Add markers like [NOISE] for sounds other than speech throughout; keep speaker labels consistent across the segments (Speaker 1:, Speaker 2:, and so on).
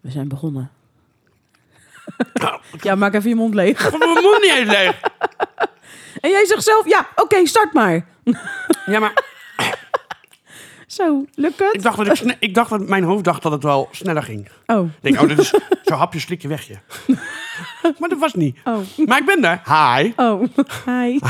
Speaker 1: We zijn begonnen. ja, maak even je mond leeg.
Speaker 2: Mijn mond niet eens leeg.
Speaker 1: En jij zegt zelf, ja, oké, start maar.
Speaker 2: Ja, maar
Speaker 1: Zo, lukt het?
Speaker 2: ik dacht, dat ik, sne- ik dacht dat mijn hoofd dacht dat het wel sneller ging. Ik
Speaker 1: Oh,
Speaker 2: denk, oh, dit is zo hapje, slikje, wegje. Maar dat was niet.
Speaker 1: oh,
Speaker 2: Maar ik ben er. Hi.
Speaker 1: oh. Hi. [LAUGHS]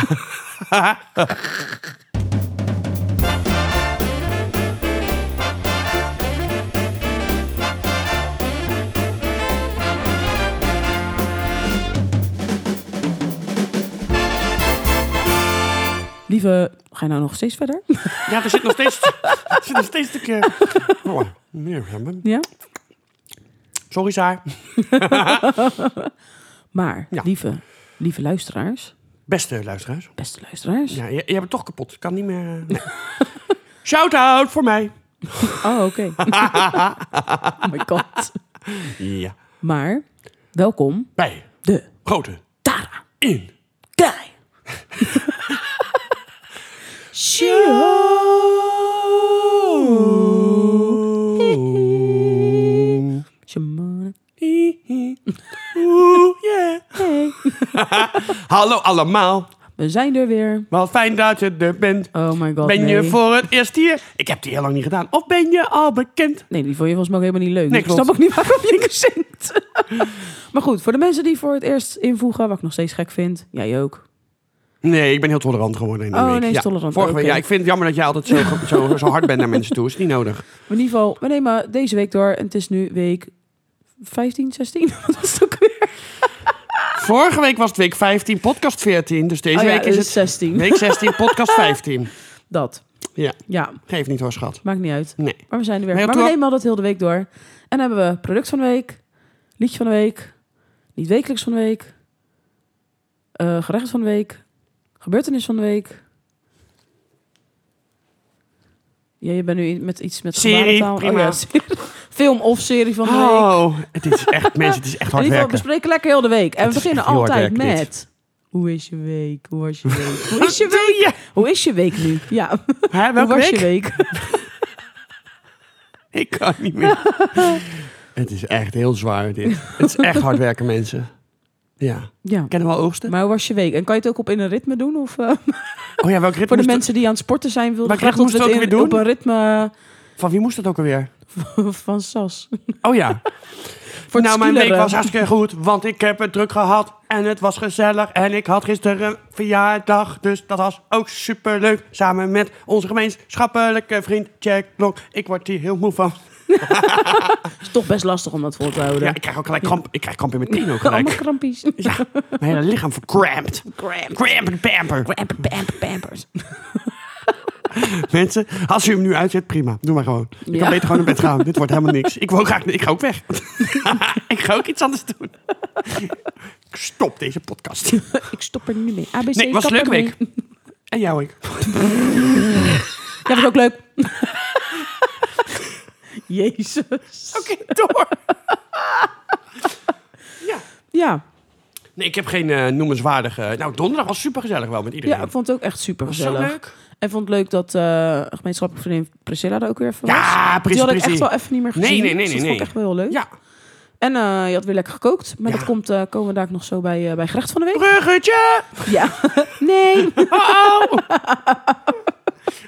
Speaker 1: Lieve, ga je nou nog steeds verder?
Speaker 2: Ja, er zit nog steeds, er zit nog steeds een keer... Oh, meer-
Speaker 1: Ja?
Speaker 2: Sorry, Saar.
Speaker 1: Maar,
Speaker 2: Ja.
Speaker 1: lieve, lieve luisteraars,
Speaker 2: Beste luisteraars.
Speaker 1: beste luisteraars.
Speaker 2: Ja, je, je hebt het toch kapot. Ik kan niet meer... eh, nee. Shout-out voor mij.
Speaker 1: Oh,
Speaker 2: [LAUGHS]
Speaker 1: oké. oh my god.
Speaker 2: Ja.
Speaker 1: Maar, welkom
Speaker 2: Bij
Speaker 1: de
Speaker 2: Grote
Speaker 1: Tara
Speaker 2: In.
Speaker 1: Guy. Oh.
Speaker 2: Show.
Speaker 1: Shimon.
Speaker 2: Oeh, yeah.
Speaker 1: Hey.
Speaker 2: Hallo allemaal,
Speaker 1: We zijn er weer.
Speaker 2: wat fijn dat je er bent.
Speaker 1: Oh my god.
Speaker 2: Ben je
Speaker 1: nee.
Speaker 2: voor het eerst hier? Ik heb die heel lang niet gedaan. Of ben je al bekend?
Speaker 1: Nee, die vond je volgens mij ook helemaal niet leuk.
Speaker 2: Nee,
Speaker 1: Dus ik
Speaker 2: klopt.
Speaker 1: snap ook niet waarom je zingt. [LAUGHS] maar goed, voor de mensen die voor het eerst invoegen, wat ik nog steeds gek vind. Jij ook.
Speaker 2: Nee, ik ben heel tolerant geworden in de
Speaker 1: Oh,
Speaker 2: week.
Speaker 1: nee, is
Speaker 2: ja.
Speaker 1: tolerant,
Speaker 2: Vorige
Speaker 1: oké.
Speaker 2: week, ja, ik vind het jammer dat jij altijd zo, zo, zo hard bent naar mensen toe. Is niet nodig.
Speaker 1: Maar in ieder geval, we nemen deze week door. En het is nu week 15, 16. [LAUGHS] Wat was het ook weer?
Speaker 2: Vorige week was het week 15, podcast 14. Dus deze
Speaker 1: Oh ja,
Speaker 2: week
Speaker 1: dus
Speaker 2: is het
Speaker 1: 16.
Speaker 2: week 16, podcast 15.
Speaker 1: Dat.
Speaker 2: Ja,
Speaker 1: Ja,
Speaker 2: geef niet hoor, schat.
Speaker 1: maakt niet uit.
Speaker 2: Nee.
Speaker 1: Maar we zijn er weer.
Speaker 2: Nee,
Speaker 1: maar we
Speaker 2: toch?
Speaker 1: nemen al dat heel de week door. En dan hebben we product van de week, liedje van de week, niet wekelijks van de week, eh gerecht van de week, gebeurtenis van de week. Ja, je bent nu i- met iets met
Speaker 2: Serie,
Speaker 1: gebarentaal. Oh
Speaker 2: prima.
Speaker 1: ja, serie. [LAUGHS] Film of serie van de week.
Speaker 2: Oh, het is echt, mensen, het is echt
Speaker 1: In ieder geval,
Speaker 2: hard
Speaker 1: we
Speaker 2: werken.
Speaker 1: bespreken lekker heel de week. En
Speaker 2: Het
Speaker 1: we
Speaker 2: is
Speaker 1: beginnen
Speaker 2: echt heel hard
Speaker 1: altijd
Speaker 2: werk, dit.
Speaker 1: met... Hoe is je week? Hoe was je week? Hoe is je
Speaker 2: Wat doe
Speaker 1: week? Hoe is je week nu? Ja, [LAUGHS]
Speaker 2: Hè,
Speaker 1: hoe
Speaker 2: welke
Speaker 1: was
Speaker 2: week?
Speaker 1: je week?
Speaker 2: Ik kan niet meer. [LAUGHS] het is echt heel zwaar dit. Het is echt hard werken mensen. Ja.
Speaker 1: Ja.
Speaker 2: Kennen we al oogsten?
Speaker 1: Maar hoe was je week? En kan je het ook op in een ritme doen? Of, eh,
Speaker 2: Oh ja, welk ritme?
Speaker 1: voor de
Speaker 2: moest-
Speaker 1: mensen die aan het sporten zijn, wilde
Speaker 2: Maar
Speaker 1: ik graag
Speaker 2: ik
Speaker 1: dat
Speaker 2: moest
Speaker 1: we het
Speaker 2: het
Speaker 1: in,
Speaker 2: ook weer
Speaker 1: op
Speaker 2: doen?
Speaker 1: een ritme
Speaker 2: Van wie moest dat ook alweer?
Speaker 1: [LAUGHS] van Sas.
Speaker 2: Oh [LAUGHS] ja.
Speaker 1: Voor het
Speaker 2: nou, mijn week
Speaker 1: skileren.
Speaker 2: was hartstikke goed, want ik heb het druk gehad en het was gezellig. En ik had gisteren een verjaardag, dus dat was ook superleuk. Samen met onze gemeenschappelijke vriend Jack Blok. Ik word hier heel moe van.
Speaker 1: is toch best lastig om dat vol te houden.
Speaker 2: Ja, ik krijg ook gelijk kramp. Ik krijg kramp in mijn teen ook
Speaker 1: Allemaal
Speaker 2: gelijk.
Speaker 1: krampies.
Speaker 2: Ja, [LAUGHS] mijn hele lichaam verkrampt.
Speaker 1: Cramp.
Speaker 2: Cramp en pamper.
Speaker 1: Cramp, pamper, pampers.
Speaker 2: Mensen, als u hem nu uitzet, prima. Doe maar gewoon. Je
Speaker 1: Ja.
Speaker 2: kan beter gewoon naar bed [LAUGHS] gaan. Dit wordt helemaal niks. Ik, wil graag, ik ga ook [LAUGHS] weg. ik ga ook iets anders doen. [LAUGHS] Ik stop deze podcast.
Speaker 1: Ik stop er nu mee. ABC,
Speaker 2: Nee, was een
Speaker 1: kap ermee.
Speaker 2: leuke week. [LAUGHS] En jou, ik.
Speaker 1: Ja, was ook leuk. [LAUGHS] Jezus.
Speaker 2: [LAUGHS] Oké, [LAUGHS] door. ja.
Speaker 1: Ja.
Speaker 2: Nee, ik heb geen eh, noemenswaardige... Nou, donderdag was supergezellig wel met iedereen.
Speaker 1: ja, ik vond het ook echt super
Speaker 2: was zo
Speaker 1: gezellig.
Speaker 2: leuk.
Speaker 1: En vond het leuk dat eh gemeenschappelijke vriendin Priscilla er ook weer van was.
Speaker 2: Ja,
Speaker 1: Die
Speaker 2: precies.
Speaker 1: had ik echt
Speaker 2: precies.
Speaker 1: wel even niet meer
Speaker 2: Nee,
Speaker 1: gezien.
Speaker 2: nee, nee,
Speaker 1: dus dat
Speaker 2: nee,
Speaker 1: vond ik
Speaker 2: nee.
Speaker 1: echt wel heel leuk.
Speaker 2: Ja.
Speaker 1: En eh, je had weer lekker gekookt. Maar
Speaker 2: Ja.
Speaker 1: dat komt, eh, komen we daar ook nog zo bij, eh, bij gerecht van de week.
Speaker 2: Bruggetje!
Speaker 1: Ja. [LAUGHS]
Speaker 2: [LAUGHS]
Speaker 1: nee.
Speaker 2: Oh,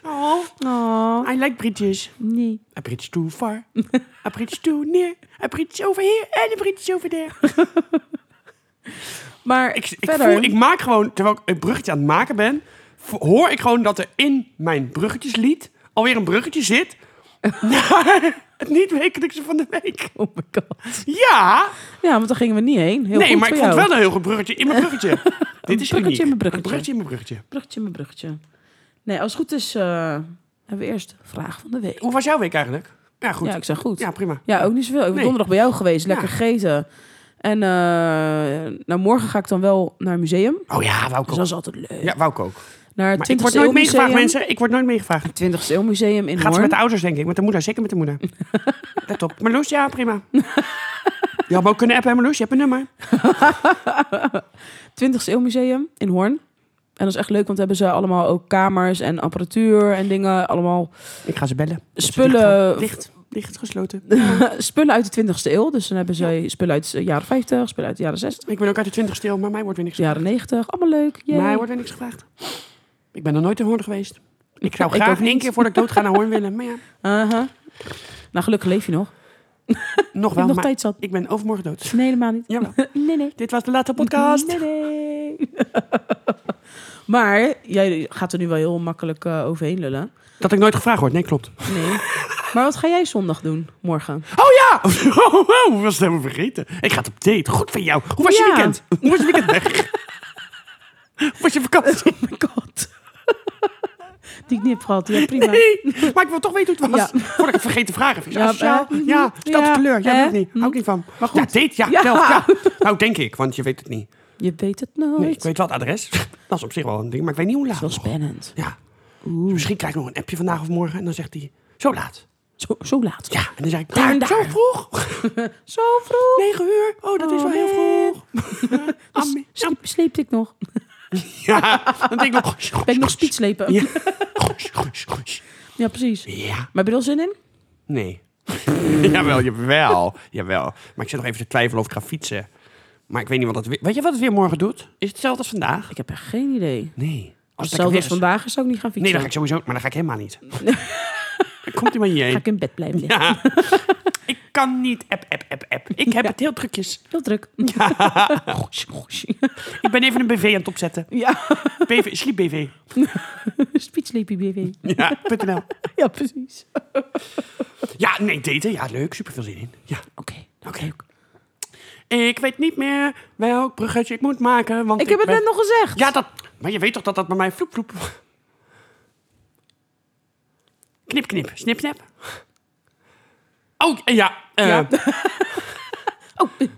Speaker 2: oh.
Speaker 1: Oh,
Speaker 2: I like bridges.
Speaker 1: nee.
Speaker 2: Een bridge too [LAUGHS] far. Een bridge too near. Een bridge over hier en een bridge over daar.
Speaker 1: Maar
Speaker 2: Ik, ik,
Speaker 1: verder...
Speaker 2: voel, ik maak gewoon, terwijl ik een bruggetje aan het maken ben, vo- hoor ik gewoon dat er in mijn bruggetjeslied alweer een bruggetje
Speaker 1: [LAUGHS]
Speaker 2: zit naar het niet-wekelijkse van de week.
Speaker 1: Oh my god.
Speaker 2: Ja!
Speaker 1: Ja, want daar gingen we niet heen. Heel
Speaker 2: nee,
Speaker 1: goed
Speaker 2: maar ik
Speaker 1: voor
Speaker 2: vond
Speaker 1: jou.
Speaker 2: wel een heel goed bruggetje in mijn
Speaker 1: [LAUGHS]
Speaker 2: bruggetje. Dit is
Speaker 1: bruggetje
Speaker 2: uniek.
Speaker 1: in mijn
Speaker 2: Een
Speaker 1: bruggetje.
Speaker 2: bruggetje in mijn bruggetje.
Speaker 1: Bruggetje mijn bruggetje. Nee, als het goed is eh, hebben we eerst vraag van de week.
Speaker 2: Hoe was jouw week eigenlijk? Ja, goed.
Speaker 1: Ja,
Speaker 2: Ja,
Speaker 1: ik zeg goed. Ja,
Speaker 2: prima.
Speaker 1: ook niet zoveel. Ik ben
Speaker 2: Nee.
Speaker 1: donderdag bij jou geweest.
Speaker 2: Ja.
Speaker 1: Lekker gegeten. En eh, nou, morgen ga ik dan wel naar een museum.
Speaker 2: Oh ja, wou
Speaker 1: Dus
Speaker 2: ik ook.
Speaker 1: dat is altijd leuk.
Speaker 2: Ja, wou ik ook.
Speaker 1: Naar het
Speaker 2: Maar ik
Speaker 1: 20e
Speaker 2: word
Speaker 1: eeuw
Speaker 2: nooit meegevraagd,
Speaker 1: museum.
Speaker 2: mensen. Ik word nooit
Speaker 1: [LAUGHS]
Speaker 2: meegevraagd.
Speaker 1: 20e eeuw museum in
Speaker 2: Gaat ze
Speaker 1: Hoorn.
Speaker 2: met de ouders, denk ik. Met de moeder, zeker met de
Speaker 1: [LAUGHS]
Speaker 2: moeder. Let op. Marloes, ja, prima. Je had me ook kunnen appen, Marloes, je hebt een nummer.
Speaker 1: 20e eeuw museum in Hoorn. En dat is echt leuk, want hebben ze allemaal ook kamers en apparatuur en dingen. Allemaal
Speaker 2: Ik ga ze bellen.
Speaker 1: [LAUGHS] spullen
Speaker 2: Dicht. Licht gesloten.
Speaker 1: spullen uit de 20e eeuw. Dus dan hebben ze spullen uit de jaren 50, spullen uit de jaren 60,
Speaker 2: Ik ben ook uit de 20 stil, maar mij wordt weer niks
Speaker 1: de jaren 90. Allemaal leuk. Yay.
Speaker 2: gevraagd. Mij wordt weer niks gevraagd. Ik ben er nooit in Hoorn geweest. [LAUGHS] Ik zou
Speaker 1: Ik ook
Speaker 2: graag in één
Speaker 1: niet.
Speaker 2: keer voordat ik dood ga naar Hoorn willen. Maar ja,
Speaker 1: Aha. Nou, gelukkig leef je nog. Ik
Speaker 2: [LAUGHS] nog
Speaker 1: heb
Speaker 2: wel.
Speaker 1: nog
Speaker 2: maar
Speaker 1: tijd zat.
Speaker 2: ik ben overmorgen [LAUGHS] dood.
Speaker 1: Nee, helemaal niet.
Speaker 2: Jawel.
Speaker 1: Nee, nee.
Speaker 2: Dit was de laatste podcast.
Speaker 1: Nee, nee. [LAUGHS] maar jij gaat er nu wel heel makkelijk eh, overheen lullen.
Speaker 2: Dat ik nooit gevraagd word. Nee, klopt.
Speaker 1: Nee. maar wat ga jij zondag doen, [LAUGHS] morgen?
Speaker 2: Oh ja! [LAUGHS] Oh, wow, hoe was het helemaal vergeten? Ik ga het op date. Goed van jou. Hoe was je
Speaker 1: Ja.
Speaker 2: [LAUGHS] weekend? Hoe was je weekend weg? Hoe was je vakantie?
Speaker 1: Oh my god. [LAUGHS] Die ik niet heb gehad. Ja, prima.
Speaker 2: Nee. Maar ik wil toch weten hoe het was.
Speaker 1: Ja.
Speaker 2: Voordat ik het vergeet te vragen. Vind ik Ah, zo
Speaker 1: Ja,
Speaker 2: asociaal.
Speaker 1: eh, mhm.
Speaker 2: ja, stadskleur.
Speaker 1: Ja,
Speaker 2: Ja, weet ik niet.
Speaker 1: hè? Hm.
Speaker 2: Hou ik niet van. Maar goed. Ja, date. Ja,
Speaker 1: Ja.
Speaker 2: Telt, ja. Nou, denk ik. Want je weet het niet.
Speaker 1: Je weet het nooit.
Speaker 2: Nee, ik weet wel het adres. [LAUGHS] Dat is op zich wel een ding. Maar ik weet niet hoe laat.
Speaker 1: Dat is
Speaker 2: nog.
Speaker 1: wel spannend.
Speaker 2: Ja. Dus misschien krijg ik nog een appje vandaag of morgen. En dan zegt hij, zo laat.
Speaker 1: Zo, zo laat.
Speaker 2: Ja. En dan zeg ik,
Speaker 1: Daar en
Speaker 2: "Ah, zo
Speaker 1: daar."
Speaker 2: vroeg.
Speaker 1: Zo vroeg.
Speaker 2: Negen uur. Oh, dat is wel
Speaker 1: Oh,
Speaker 2: heel
Speaker 1: nee. [LAUGHS]
Speaker 2: vroeg. [LAUGHS] Amen.
Speaker 1: Sleep, sleepte ik nog.
Speaker 2: Ja, dan denk ik nog...
Speaker 1: Ben
Speaker 2: [LAUGHS]
Speaker 1: ik nog speedslepen? Ja. [LAUGHS]
Speaker 2: Ja. Gosh, gosh, gosh.
Speaker 1: precies.
Speaker 2: Ja.
Speaker 1: Maar heb je er al zin in?
Speaker 2: Nee. [LAUGHS] jawel, jawel, jawel. Maar ik zit nog even te twijfelen of ik ga fietsen. Maar ik weet niet wat het weer... Weet je wat het weer morgen doet? Is het hetzelfde als vandaag?
Speaker 1: Ik heb echt geen idee.
Speaker 2: Nee.
Speaker 1: Als
Speaker 2: Als
Speaker 1: het zelfs
Speaker 2: lekker
Speaker 1: als
Speaker 2: weer is.
Speaker 1: vandaag is, zou ik niet gaan
Speaker 2: Nee,
Speaker 1: fietsen.
Speaker 2: dan ga ik sowieso... Maar dan ga ik helemaal
Speaker 1: [LAUGHS]
Speaker 2: niet. dan komt hij maar
Speaker 1: Ga
Speaker 2: hierheen.
Speaker 1: ik in bed blijven liggen.
Speaker 2: Ja. ik kan niet app, app, app, app. Ik heb het heel drukjes.
Speaker 1: Heel druk. [LAUGHS] Gosh, gosh.
Speaker 2: Ik ben even een BV aan het opzetten.
Speaker 1: Ja, [LAUGHS]
Speaker 2: BV, sliep BV.
Speaker 1: speedsleepy BV.
Speaker 2: Ja, .nl.
Speaker 1: Ja, precies. Oké.
Speaker 2: Ja, nee, daten. Ja, leuk. Super veel zin in. Ja.
Speaker 1: Oké.
Speaker 2: Ik weet niet meer welk bruggetje ik moet maken. Want
Speaker 1: Ik heb het
Speaker 2: ben-
Speaker 1: net nog gezegd.
Speaker 2: Ja, dat... Maar je weet toch dat dat bij mij vloep, vloep... Knip, knip. Snip, snap. Oh, eh, ja. eh,
Speaker 1: Ja. Oh, [LAUGHS]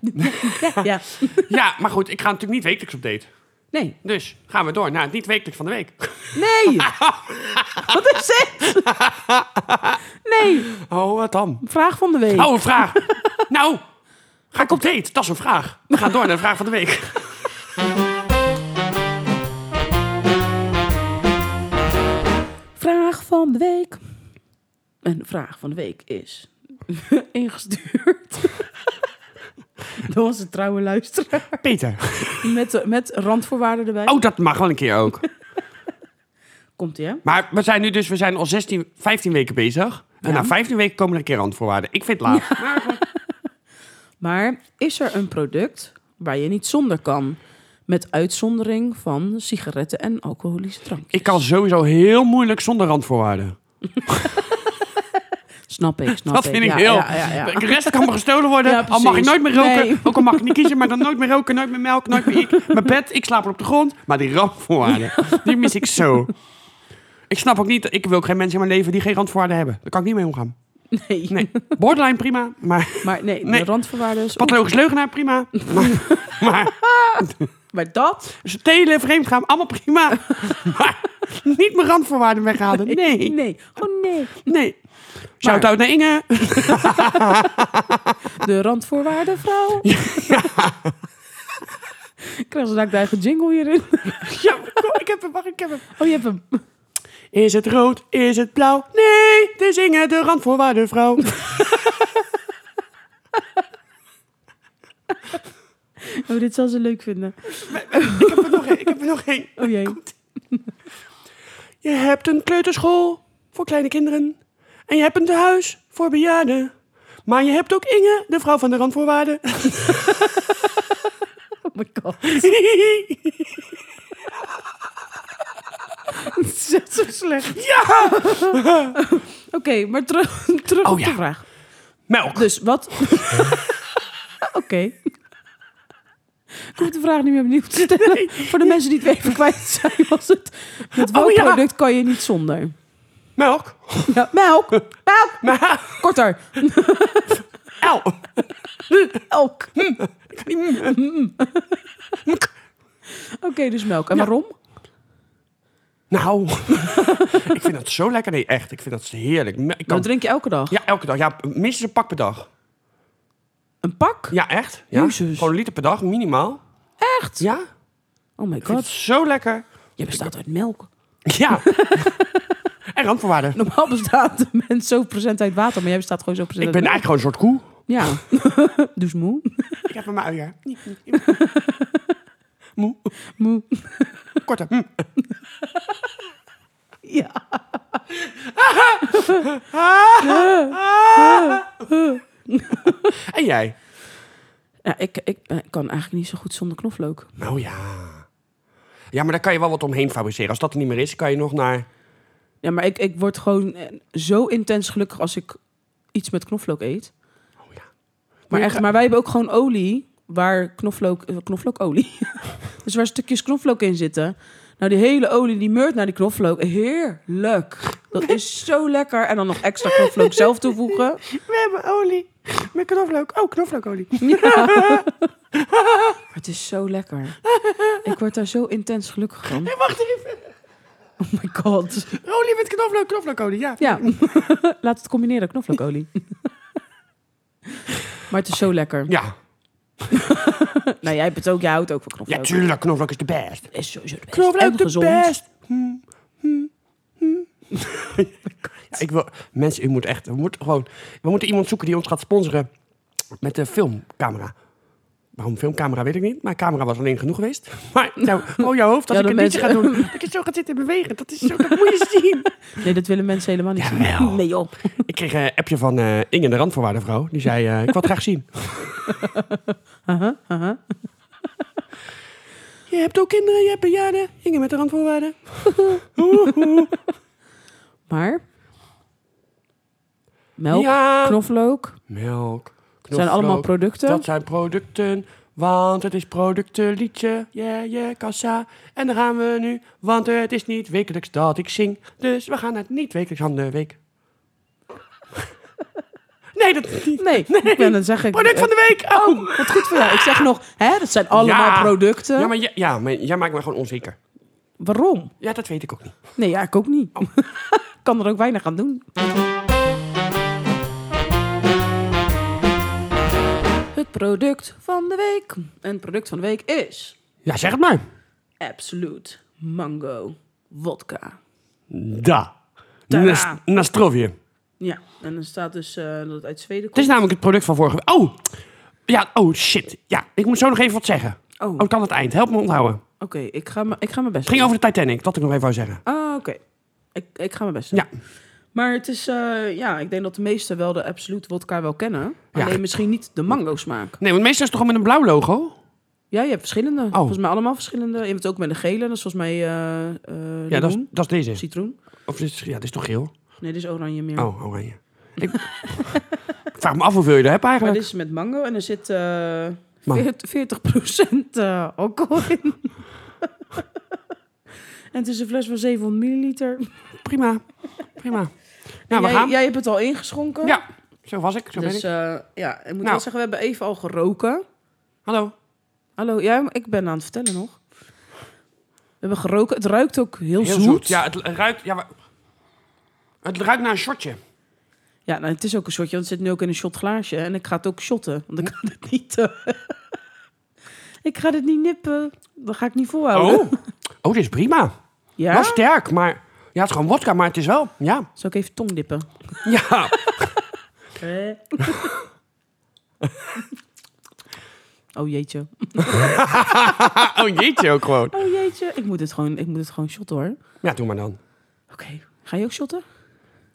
Speaker 1: ja, ja.
Speaker 2: [LAUGHS] ja, maar goed. Ik ga natuurlijk niet wekelijks op date.
Speaker 1: Nee.
Speaker 2: Dus gaan we door naar het niet wekelijks van de week. [LAUGHS]
Speaker 1: Nee. Wat is dit? Nee.
Speaker 2: Oh, wat dan?
Speaker 1: Vraag van de week.
Speaker 2: Oh, een [LAUGHS] vraag. nou, ga ik op date? Dat is een vraag. We gaan door naar de vraag van de week.
Speaker 1: Vraag van de week. En de vraag van de week is [LAUGHS] ingestuurd [LAUGHS] door onze trouwe luisteraar.
Speaker 2: Peter.
Speaker 1: Met, met randvoorwaarden erbij.
Speaker 2: Oh, dat mag wel een keer ook.
Speaker 1: Komt ie, hè?
Speaker 2: Maar we zijn nu dus, we zijn al 16, 15 weken bezig. En
Speaker 1: Ja.
Speaker 2: na 15 weken komen er een keer randvoorwaarden. Ik vind het laag. [LAUGHS]
Speaker 1: Maar is er een product waar je niet zonder kan? Met uitzondering van sigaretten en alcoholische drankjes.
Speaker 2: Ik kan sowieso heel moeilijk zonder randvoorwaarden.
Speaker 1: Snap
Speaker 2: [LAUGHS]
Speaker 1: ik, snap
Speaker 2: Dat
Speaker 1: ik.
Speaker 2: vind ik
Speaker 1: Ja,
Speaker 2: heel.
Speaker 1: Ja, ja,
Speaker 2: [LAUGHS]
Speaker 1: ja.
Speaker 2: De rest kan me gestolen worden.
Speaker 1: Ja,
Speaker 2: al mag ik
Speaker 1: precies.
Speaker 2: nooit meer roken.
Speaker 1: Nee.
Speaker 2: Ook al mag ik niet kiezen, maar dan nooit meer roken, nooit meer melk, nooit meer ik. Mijn bed, ik slaap er op de grond. Maar die randvoorwaarden, die mis ik zo. Ik snap ook niet, ik wil ook geen mensen in mijn leven die geen randvoorwaarden hebben. Daar kan ik niet mee omgaan.
Speaker 1: Nee.
Speaker 2: Nee, borderline prima, maar
Speaker 1: Maar nee,
Speaker 2: Nee.
Speaker 1: de randvoorwaarden is...
Speaker 2: pathologisch leugenaar prima. Maar, maar
Speaker 1: Oh, Maar dat?
Speaker 2: stelen, vreemdgaan, allemaal prima. Maar niet mijn randvoorwaarden weghalen. Nee,
Speaker 1: Nee. Oh nee.
Speaker 2: nee. Shout-out naar Inge.
Speaker 1: De randvoorwaarden, vrouw. [LAUGHS] Ik krijg ze daar de eigen jingle hierin.
Speaker 2: Ja, kom, ik heb hem, wacht, ik heb hem.
Speaker 1: Oh, je hebt hem.
Speaker 2: Is het rood? Is het blauw? Nee, het is Inge, de randvoorwaardenvrouw.
Speaker 1: Oh, dit zal ze leuk vinden.
Speaker 2: ik heb er nog één, ik heb er nog één.
Speaker 1: Oh jee.
Speaker 2: Je hebt een kleuterschool voor kleine kinderen. En je hebt een tehuis voor bejaarden. Maar je hebt ook Inge, de vrouw van de randvoorwaarden.
Speaker 1: Oh my god. [LAUGHS] Het is echt zo slecht.
Speaker 2: ja!
Speaker 1: [LAUGHS] Oké, maar terug, terug
Speaker 2: Oh,
Speaker 1: op
Speaker 2: ja.
Speaker 1: de vraag.
Speaker 2: [LAUGHS] Melk.
Speaker 1: Dus wat... Oké. Ik hoef de vraag niet meer opnieuw te stellen. Voor de mensen die het even kwijt zijn, was het... Met welk
Speaker 2: Oh, ja.
Speaker 1: product kan je niet zonder?
Speaker 2: Melk.
Speaker 1: Ja, melk. Melk.
Speaker 2: Maar, [LAUGHS]
Speaker 1: Korter.
Speaker 2: el.
Speaker 1: Elk. Hm. Oké, hm. dus melk. En waarom?
Speaker 2: Nou, [LAUGHS] ik vind dat zo lekker. Nee, echt. Ik vind dat heerlijk. Me- Ik
Speaker 1: Dat
Speaker 2: kan...
Speaker 1: drink je elke dag.
Speaker 2: Ja, elke dag. Ja, minstens een pak per dag.
Speaker 1: Een pak?
Speaker 2: Ja, echt. Ja.
Speaker 1: Jezus.
Speaker 2: Gewoon een liter per dag, minimaal.
Speaker 1: Echt?
Speaker 2: Ja. Ik
Speaker 1: Oh my
Speaker 2: vind het
Speaker 1: god.
Speaker 2: zo lekker.
Speaker 1: Je bestaat uit melk.
Speaker 2: Ja. [LAUGHS] En randvoorwaarden.
Speaker 1: Normaal bestaat de mens zo procent uit water, maar jij bestaat gewoon zo procent
Speaker 2: Ik ben
Speaker 1: uit...
Speaker 2: eigenlijk gewoon een soort koe.
Speaker 1: Ja, dus moe.
Speaker 2: Ik heb oh een uier. [LAUGHS]
Speaker 1: Moe.
Speaker 2: Korte. Hm.
Speaker 1: Ja.
Speaker 2: En jij?
Speaker 1: ja ik, ik eh, kan eigenlijk niet zo goed zonder knoflook.
Speaker 2: Nou ja. Ja, maar daar kan je wel wat omheen fabriceren. Als dat er niet meer is, kan je nog naar...
Speaker 1: Ja, maar ik, ik word gewoon eh, zo intens gelukkig als ik iets met knoflook eet.
Speaker 2: Oh ja.
Speaker 1: Maar,
Speaker 2: je
Speaker 1: echt,
Speaker 2: ga-
Speaker 1: maar wij hebben ook gewoon olie waar knoflook, eh, knoflookolie. [LAUGHS] dus waar stukjes knoflook in zitten. Nou, die hele olie die meurt naar die knoflook. Heerlijk. Dat is zo lekker. En dan nog extra knoflook zelf toevoegen.
Speaker 2: We hebben olie. Met knoflook. Oh, knoflookolie.
Speaker 1: Ja. Maar het is zo lekker. Ik word daar zo intens gelukkig van.
Speaker 2: Wacht even.
Speaker 1: Oh my god.
Speaker 2: Olie met knoflook, knoflookolie. Ja.
Speaker 1: Ja, [LAUGHS] laat het combineren, [LAUGHS] knoflookolie. maar het is zo lekker.
Speaker 2: Ja.
Speaker 1: Nou, jij bent ook, jij houdt ook van
Speaker 2: Ja,
Speaker 1: knoflook.
Speaker 2: tuurlijk. Knoflook is de best.
Speaker 1: is sowieso het beste.
Speaker 2: Knoflook
Speaker 1: en
Speaker 2: de
Speaker 1: gezond.
Speaker 2: best. Hm, hm, hm. [LAUGHS] Ja, ik wil... Mensen, u moet echt... We moeten gewoon... We moeten iemand zoeken die ons gaat sponsoren met de filmcamera. Waarom filmcamera weet ik niet. Mijn camera was alleen genoeg geweest. [LAUGHS] Maar nou, oh jouw hoofd, als
Speaker 1: Ja,
Speaker 2: ik
Speaker 1: dat
Speaker 2: een liedje ga
Speaker 1: mensen-
Speaker 2: doen. Dat ik het zo ga zitten bewegen. Dat is zo... Dat moet je [LAUGHS] zien.
Speaker 1: Nee, dat willen mensen helemaal niet
Speaker 2: Jawel.
Speaker 1: zien. [LAUGHS] Nee joh.
Speaker 2: Ik kreeg een appje van eh, Inge de randvoorwaardenvrouw. Die zei, eh, ik wil het graag zien. Je hebt ook kinderen, je hebt bejaarden. Inge met de randvoorwaarden.
Speaker 1: Maar... Melk,
Speaker 2: Ja.
Speaker 1: knoflook,
Speaker 2: Melk, knoflook.
Speaker 1: zijn allemaal producten.
Speaker 2: Dat zijn producten, want het is productenliedje. Yeah, yeah, kassa. En daar gaan we nu, want het is niet wekelijks dat ik zing. Dus we gaan naar het niet wekelijks van de [LAUGHS] week. Nee, dat is niet.
Speaker 1: Nee, ik ben het zeg ik.
Speaker 2: Product van de week! Oh!
Speaker 1: Wat goed voor jou. Ik zeg nog, hè, dat zijn allemaal
Speaker 2: Ja.
Speaker 1: producten.
Speaker 2: Ja, maar, j- ja, maar jij maakt me gewoon onzeker.
Speaker 1: Waarom?
Speaker 2: Ja, dat weet ik ook niet.
Speaker 1: Nee, ja, ik ook niet. [LAUGHS] kan er ook weinig aan doen. Het product van de week. En het product van de week is
Speaker 2: Ja, zeg het maar.
Speaker 1: Absolute Mango Vodka.
Speaker 2: Da.
Speaker 1: Da.
Speaker 2: Nas- Nastrovje.
Speaker 1: Ja, en er staat dus eh, dat het uit Zweden
Speaker 2: Het is
Speaker 1: komt.
Speaker 2: namelijk het product van vorige week. Oh! Ja, oh shit. Ja, ik moet zo nog even wat zeggen.
Speaker 1: Oh,
Speaker 2: Oh,
Speaker 1: oké,
Speaker 2: dan het eind. Help me onthouden.
Speaker 1: ik ga mijn ik ga mijn best
Speaker 2: Het ging over de Titanic, dat ik nog even wou zeggen.
Speaker 1: doen. Ah, oké. Ik, ik ga mijn best doen.
Speaker 2: Ja.
Speaker 1: Maar het is, eh, ja, ik denk dat de meesten wel de Absolute Vodka wel kennen.
Speaker 2: Ja.
Speaker 1: Alleen misschien niet de mango smaak.
Speaker 2: Nee, want meestal is het toch gewoon met een blauw logo?
Speaker 1: Ja, je hebt verschillende.
Speaker 2: Oh.
Speaker 1: Volgens mij allemaal verschillende. Je hebt ook met een gele, dat is volgens mij eh eh, limoen,
Speaker 2: Ja, dat is, dat is deze.
Speaker 1: citroen.
Speaker 2: Of dit is, ja, dit is toch geel?
Speaker 1: Nee, dit is oranje meer.
Speaker 2: Oh, oranje. Ik, [LAUGHS] ik vraag me af hoeveel je er hebt
Speaker 1: Maar
Speaker 2: eigenlijk.
Speaker 1: dit is met mango en er zit eh
Speaker 2: Maar-
Speaker 1: 40, 40% eh, alcohol
Speaker 2: [LAUGHS]
Speaker 1: in. en het is een fles van 700 milliliter.
Speaker 2: Prima. Prima.
Speaker 1: En
Speaker 2: Nou, we
Speaker 1: jij,
Speaker 2: gaan.
Speaker 1: jij hebt het al ingeschonken.
Speaker 2: Ja, zo was ik. Zo ben
Speaker 1: Dus
Speaker 2: ik.
Speaker 1: eh, ja, ik moet
Speaker 2: Nou.
Speaker 1: wel zeggen, we hebben even al geroken.
Speaker 2: Hallo.
Speaker 1: Hallo, ja, maar ik ben aan het vertellen nog. We hebben geroken. Het ruikt ook heel,
Speaker 2: Heel zoet. Ja, het ruikt... Ja, maar- het ruikt naar een shotje.
Speaker 1: Ja, nou, het is ook een shotje, want het zit nu ook in een shotglaasje. En ik ga het ook shotten, want ik
Speaker 2: Hm.
Speaker 1: kan het niet... eh, [LAUGHS] ik ga dit niet nippen. Dat ga ik niet volhouden.
Speaker 2: Oh, oh dit is prima.
Speaker 1: ja?
Speaker 2: Wel sterk, maar... Ja, het is gewoon wodka, maar het is wel... Ja. [LAUGHS]
Speaker 1: Zal ik even tong dippen?
Speaker 2: Ja.
Speaker 1: [LAUGHS] Oh jeetje.
Speaker 2: oh, jeetje ook gewoon.
Speaker 1: Oh jeetje. Ik moet het gewoon, ik moet het gewoon shotten hoor. Oké.
Speaker 2: Ja, doe maar dan.
Speaker 1: Ga je ook shotten?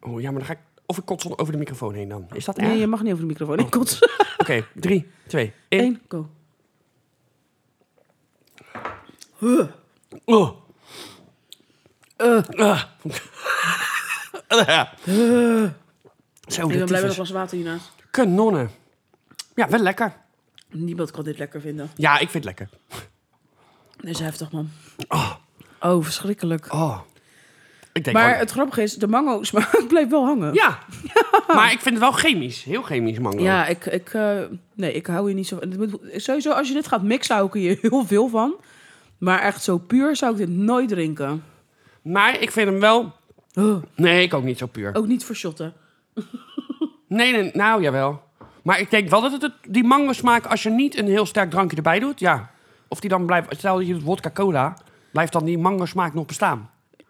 Speaker 2: Oh, ja, maar dan ga ik... Of ik kots over de microfoon heen dan. Is dat erg?
Speaker 1: Nee, je mag niet over de
Speaker 2: Oh.
Speaker 1: microfoon. Ik
Speaker 2: [LAUGHS]
Speaker 1: kotsen.
Speaker 2: Oké, drie, twee, één.
Speaker 1: Eén, go.
Speaker 2: Oh.
Speaker 1: Eh.
Speaker 2: Ah. Ja. Zo,
Speaker 1: Ik ben
Speaker 2: dit
Speaker 1: blij met een
Speaker 2: is dus
Speaker 1: glas water hiernaast.
Speaker 2: kanonnen. Ja, wel lekker.
Speaker 1: Niemand kan dit lekker vinden.
Speaker 2: Ja, ik vind het lekker.
Speaker 1: Dit is heftig man. Oh, verschrikkelijk.
Speaker 2: Oh. Ik denk
Speaker 1: Maar
Speaker 2: wel-
Speaker 1: het grappige is, de mango smaak [LAUGHS] blijft wel hangen.
Speaker 2: Ja. Maar ik vind het wel chemisch. Heel chemisch mango.
Speaker 1: Ja, ik, ik, eh, nee, ik hou hier niet zo van. Het moet- Sowieso, als je dit gaat mixen, hou ik hier [LAUGHS] heel veel van. Maar echt zo puur zou ik dit nooit drinken.
Speaker 2: Maar ik vind hem wel...
Speaker 1: Oh,
Speaker 2: Nee, ik ook niet zo puur.
Speaker 1: ook niet voor shotten.
Speaker 2: Nee, nee, nou jawel. Maar ik denk wel dat het, het- die mango smaak, als je niet een heel sterk drankje erbij doet, ja. Of die dan blijft, stel dat je doet wodka cola, blijft dan die mango smaak nog bestaan.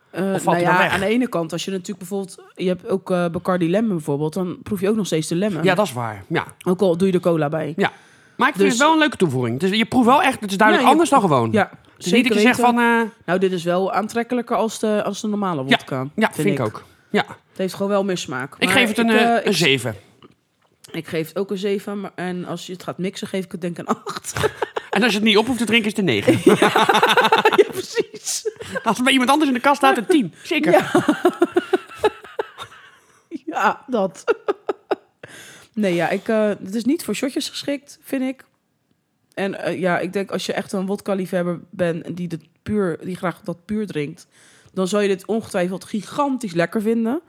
Speaker 1: Eh, eh,
Speaker 2: Of
Speaker 1: nou
Speaker 2: valt hij dan
Speaker 1: ja,
Speaker 2: weg?
Speaker 1: aan de ene kant, als je natuurlijk bijvoorbeeld... Je hebt ook eh Bacardi Lemon bijvoorbeeld. Dan proef je ook nog steeds de lemon.
Speaker 2: Ja, dat is waar. Ja.
Speaker 1: Ook al doe je de cola bij.
Speaker 2: ja. Maar ik vind
Speaker 1: Dus-
Speaker 2: het wel een leuke toevoeging. Dus je proeft wel echt, het is duidelijk
Speaker 1: Ja, je-
Speaker 2: anders dan gewoon.
Speaker 1: Ja,
Speaker 2: het is niet dat je zegt
Speaker 1: weten.
Speaker 2: van, eh,
Speaker 1: Nou, dit is wel aantrekkelijker als de, als de normale vodka.
Speaker 2: ja, vind, ik ook. Ja.
Speaker 1: Het heeft gewoon wel meer smaak.
Speaker 2: Ik
Speaker 1: Maar
Speaker 2: geef het een,
Speaker 1: eh,
Speaker 2: eh,
Speaker 1: ik-
Speaker 2: een 7.
Speaker 1: Ik geef het ook een 7. maar- En als je het gaat mixen, geef ik het denk ik een 8.
Speaker 2: En als je het niet op hoeft te drinken, is het een 9.
Speaker 1: [LAUGHS] ja, precies.
Speaker 2: Als het bij iemand anders in de kast staat, een 10. Zeker.
Speaker 1: Ja. [LAUGHS] Ja, dat. nee, ja, ik, eh, het is niet voor shotjes geschikt, vind ik. En eh, ja, ik denk als je echt een wodka-liefhebber bent en die, dit puur, die graag dat puur drinkt, dan zal je dit ongetwijfeld gigantisch lekker vinden.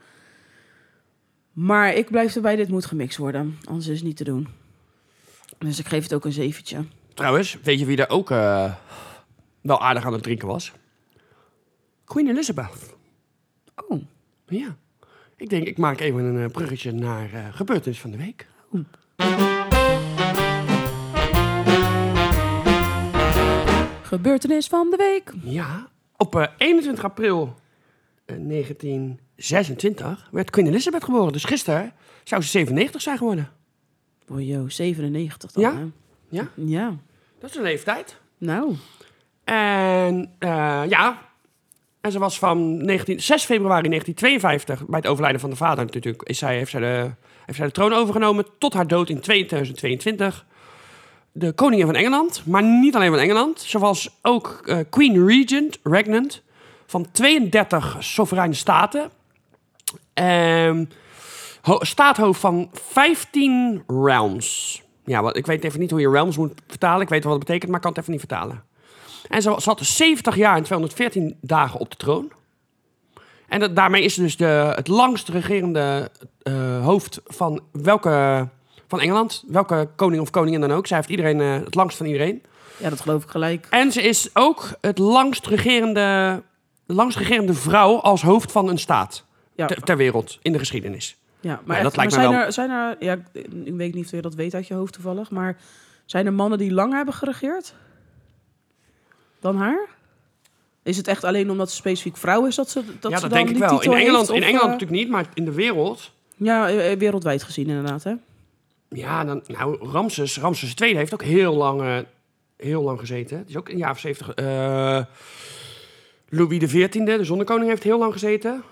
Speaker 1: Maar ik blijf erbij, dit moet gemixt worden. Anders is het niet te doen. Dus ik geef het ook een zeventje.
Speaker 2: Trouwens, weet je wie daar ook eh, wel aardig aan het drinken was? Queen Elizabeth.
Speaker 1: Oh,
Speaker 2: Ja. Ik denk, ik maak even een eh, bruggetje naar eh, gebeurtenis van de week.
Speaker 1: gebeurtenis van de week.
Speaker 2: Ja. Op eh, 21 april eh, 1926 werd Queen Elizabeth geboren. Dus gisteren zou ze 97 zijn geworden.
Speaker 1: Bojo, 97 dan,
Speaker 2: Ja?
Speaker 1: hè?
Speaker 2: Ja.
Speaker 1: Ja.
Speaker 2: Dat is een leeftijd.
Speaker 1: Nou,
Speaker 2: En eh, ja. En ze was van 19, 6 februari 1952, bij het overlijden van de vader natuurlijk, is zij, heeft, zij de, heeft zij de troon overgenomen tot haar dood in 2022. De koningin van Engeland, maar niet alleen van Engeland. Ze was ook eh, Queen Regent, Regnant, van 32 soevereine staten. Ehm, ho- staathoofd van 15 realms. Ja, wat, ik weet even niet hoe je realms moet vertalen. Ik weet wel wat het betekent, maar ik kan het even niet vertalen. En ze zat 70 jaar en 214 dagen op de troon. En dat, daarmee is ze dus de, het langst regerende eh, hoofd van, welke, van Engeland. Welke koning of koningin dan ook. Zij heeft iedereen, eh, het langst van iedereen.
Speaker 1: ja, dat geloof ik gelijk.
Speaker 2: En ze is ook het langst regerende, de langst regerende vrouw als hoofd van een staat
Speaker 1: Ja.
Speaker 2: ter, ter wereld in de geschiedenis.
Speaker 1: Ja, maar,
Speaker 2: dat
Speaker 1: echt,
Speaker 2: lijkt
Speaker 1: maar
Speaker 2: me
Speaker 1: zijn,
Speaker 2: wel-
Speaker 1: er, zijn er, ja, ik- ik weet niet of je dat weet uit je hoofd toevallig, maar zijn er mannen die langer hebben geregeerd dan haar? Is het echt alleen omdat ze specifiek vrouw is dat ze dat
Speaker 2: ja,
Speaker 1: ze
Speaker 2: dat
Speaker 1: dan
Speaker 2: denk ik
Speaker 1: die
Speaker 2: wel. In
Speaker 1: titel
Speaker 2: Engeland,
Speaker 1: heeft,
Speaker 2: in
Speaker 1: of,
Speaker 2: Engeland
Speaker 1: eh,
Speaker 2: natuurlijk niet, maar in de wereld.
Speaker 1: Ja, eh, eh, wereldwijd gezien inderdaad, hè?
Speaker 2: Ja, dan, nou, Ramses, Ramses II heeft ook heel lang, eh, heel lang gezeten. Het is ook in de jaren 70. eh Louis XIV, de zonnekoning, heeft heel lang gezeten.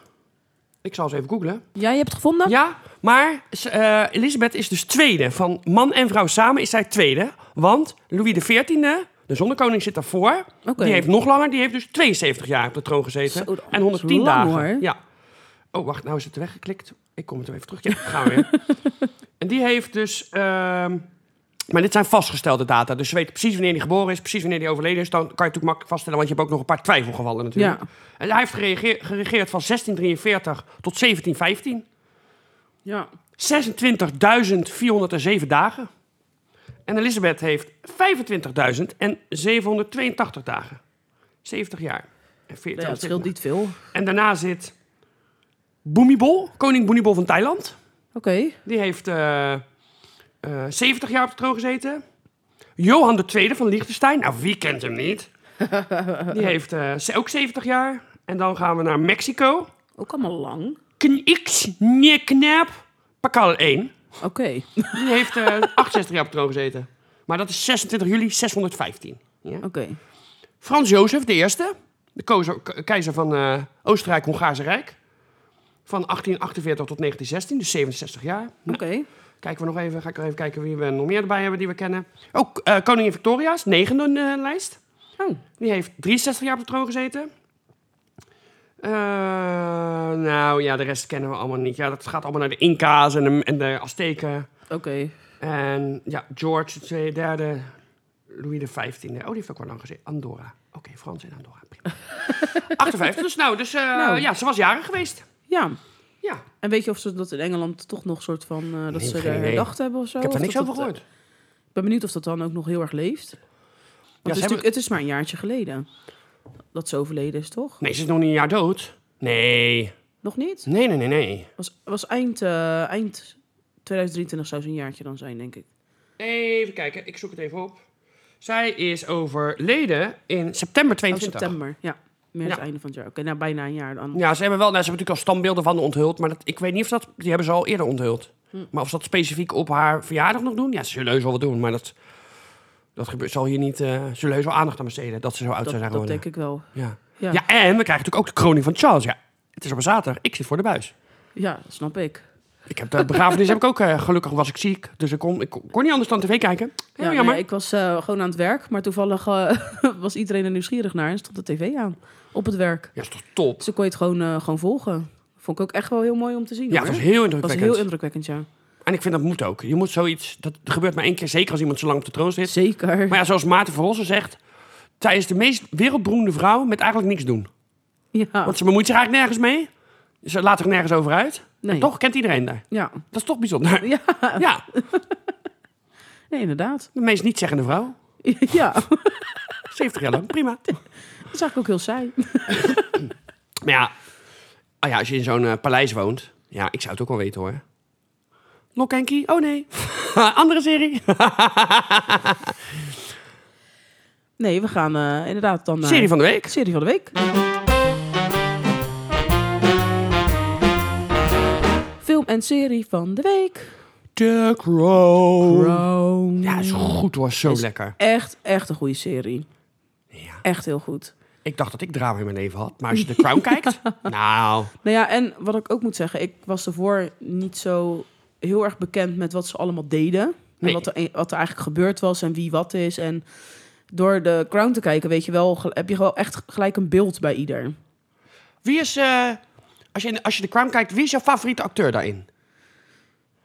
Speaker 2: Ik zal eens even googlen.
Speaker 1: Ja, je hebt het gevonden?
Speaker 2: Ja, maar ze- eh, Elisabeth is dus tweede. Van man en vrouw samen is zij tweede. Want Louis XIV, de zonnekoning, zit daarvoor.
Speaker 1: Oké.
Speaker 2: Die heeft nog langer. Die heeft dus 72 jaar op de troon gezeten.
Speaker 1: Zo, dat
Speaker 2: en
Speaker 1: is
Speaker 2: 110
Speaker 1: lang,
Speaker 2: dagen.
Speaker 1: hoor.
Speaker 2: Ja. Oh, wacht. Nou is het weggeklikt. Ik kom het er even terug. Ja, gaan
Speaker 1: [LAUGHS]
Speaker 2: we weer. en die heeft dus... ehm, maar dit zijn vastgestelde data. Dus ze weten precies wanneer hij geboren is, precies wanneer hij overleden is. Dan kan je het natuurlijk makkelijk vaststellen, want je hebt ook nog een paar twijfelgevallen natuurlijk.
Speaker 1: Ja.
Speaker 2: En hij heeft geregeer- geregeerd van 1643 tot 1715.
Speaker 1: Ja.
Speaker 2: 26.407 dagen. En Elisabeth heeft 25.782 dagen. 70 jaar. En, 40
Speaker 1: Ja, het scheelt niet veel. Oké.
Speaker 2: en daarna zit Boemibol, koning Boemibol van Thailand. Die heeft eh, eh, 70 jaar op de troon gezeten. Johan II van Liechtenstein. Nou, wie kent hem
Speaker 1: [LAUGHS]
Speaker 2: niet? Die heeft eh, ze- ook 70 jaar. En dan gaan we naar Mexico.
Speaker 1: Ook allemaal lang.
Speaker 2: X, nee, knap. Pakal 1.
Speaker 1: Oké.
Speaker 2: Die heeft eh [LAUGHS] 68 jaar op de troon gezeten. Maar dat is 26 juli 615. Ja.
Speaker 1: Oké.
Speaker 2: Frans Jozef de eerste, de kozer- k- keizer van eh, Oostenrijk-Hongaarse Rijk. Van 1848 tot 1916, dus 67 jaar.
Speaker 1: Oké.
Speaker 2: Kijken we nog even, ga ik nog even kijken wie we nog meer erbij hebben die we kennen. Ook eh, koningin Victoria's, negende in de lijst.
Speaker 1: Oh.
Speaker 2: Die heeft 63 jaar op de troon gezeten. Eh, nou ja, de rest kennen we allemaal niet. Ja, dat gaat allemaal naar de Inca's en de, en de Azteken.
Speaker 1: Oké.
Speaker 2: En ja, George de tweede, derde, Louis de vijftiende. Oh, die heeft ook wel lang gezien. Andorra. Oké, Frans en Andorra. Prima. [LAUGHS] 58, dus nou, dus eh,
Speaker 1: Nou.
Speaker 2: ja, ze was jaren geweest.
Speaker 1: Ja.
Speaker 2: Ja,
Speaker 1: En weet je of ze dat in Engeland toch nog soort van... eh, dat
Speaker 2: Nee,
Speaker 1: ze
Speaker 2: geen
Speaker 1: er
Speaker 2: idee.
Speaker 1: herdacht hebben of zo?
Speaker 2: ik heb
Speaker 1: Of
Speaker 2: daar niks
Speaker 1: dat
Speaker 2: over
Speaker 1: het, eh,
Speaker 2: gehoord.
Speaker 1: Ik ben benieuwd of dat dan ook nog heel erg leeft. Want het,
Speaker 2: Ja, ze
Speaker 1: is
Speaker 2: hebben-
Speaker 1: natuurlijk- het is maar een jaartje geleden dat ze overleden is, toch?
Speaker 2: Nee, ze is nog niet een jaar dood. Nee,
Speaker 1: Nog niet?
Speaker 2: nee, nee, nee, nee.
Speaker 1: Was, was eind, eh, eind 2023 zou ze een jaartje dan zijn, denk ik.
Speaker 2: Even kijken, ik zoek het even op. Zij is overleden in september
Speaker 1: Oh,
Speaker 2: 22.
Speaker 1: september, ja. meer het
Speaker 2: Ja.
Speaker 1: einde van het jaar. Oké, nou bijna een jaar dan.
Speaker 2: Ja, ze hebben wel, nou, ze hebben natuurlijk al standbeelden van onthuld, maar dat, ik weet niet of dat, die hebben ze al eerder onthuld.
Speaker 1: Hm.
Speaker 2: Maar of ze dat specifiek op haar verjaardag nog doen, ja, ze zullen heus wel wat doen, maar dat, dat gebeurt, zal hier niet, eh, ze zullen heus wel aandacht aan besteden, dat ze zo oud
Speaker 1: Dat,
Speaker 2: zijn
Speaker 1: dat
Speaker 2: geworden.
Speaker 1: denk ik wel.
Speaker 2: Ja.
Speaker 1: Ja.
Speaker 2: Ja. en we krijgen natuurlijk ook de kroning van Charles, ja. Het is op een zaterdag, ik zit voor de buis.
Speaker 1: Ja, dat snap ik.
Speaker 2: Ik heb de begrafenis [LAUGHS] heb ik ook, eh, gelukkig was ik ziek, dus ik kon, ik kon kon niet anders dan tv kijken.
Speaker 1: Ja,
Speaker 2: Ja, jammer.
Speaker 1: nee, ik was eh, gewoon aan het werk, maar toevallig eh, [LAUGHS] was iedereen er nieuwsgierig naar en stond de tv aan op het werk.
Speaker 2: Ja, is toch top.
Speaker 1: Dus dan kon je het gewoon, eh, gewoon volgen. Vond ik ook echt wel heel mooi om te zien.
Speaker 2: Ja,
Speaker 1: hoor.
Speaker 2: het was heel
Speaker 1: was
Speaker 2: indrukwekkend.
Speaker 1: heel indrukwekkend, ja.
Speaker 2: En ik vind dat moet ook. Je moet zoiets, dat gebeurt maar één keer, zeker als iemand zo lang op de troon zit.
Speaker 1: Zeker.
Speaker 2: Maar ja, zoals Maarten Verhossen zegt, zij is de meest wereldberoemde vrouw met eigenlijk niks doen.
Speaker 1: ja.
Speaker 2: Want ze bemoeit zich eigenlijk nergens mee. Ze laat zich nergens over uit.
Speaker 1: Nee.
Speaker 2: Toch kent iedereen daar.
Speaker 1: Ja.
Speaker 2: Dat is toch bijzonder.
Speaker 1: Ja.
Speaker 2: Ja,
Speaker 1: Nee, inderdaad.
Speaker 2: de meest nietzeggende vrouw.
Speaker 1: [LAUGHS] ja,
Speaker 2: 70 jaar lang, prima.
Speaker 1: dat is eigenlijk ook heel saai.
Speaker 2: Maar ja, ah ja als je in zo'n eh, paleis woont. Ja, ik zou het ook wel weten hoor. Lok en Key? Oh nee. [LAUGHS] Andere serie.
Speaker 1: Nee, we gaan eh, inderdaad dan naar...
Speaker 2: Serie van de week.
Speaker 1: Serie van de week. Film en serie van de week.
Speaker 2: The Crown.
Speaker 1: Crown.
Speaker 2: Ja, is goed hoor. Zo
Speaker 1: Is-
Speaker 2: lekker.
Speaker 1: Echt, echt een goede serie.
Speaker 2: Ja.
Speaker 1: Echt heel goed.
Speaker 2: Ik dacht dat ik drama in mijn leven had. Maar als [LAUGHS] je The Crown kijkt. Nou,
Speaker 1: Nou ja, en wat ik ook moet zeggen, ik was daarvoor niet zo heel erg bekend met wat ze allemaal deden.
Speaker 2: Nee.
Speaker 1: En wat er, e, wat er eigenlijk gebeurd was en wie wat is. En door de Crown te kijken, weet je wel, gel- heb je wel echt gelijk een beeld bij ieder.
Speaker 2: Wie is, eh, als, je, als je de Crown kijkt, wie is jouw favoriete acteur daarin?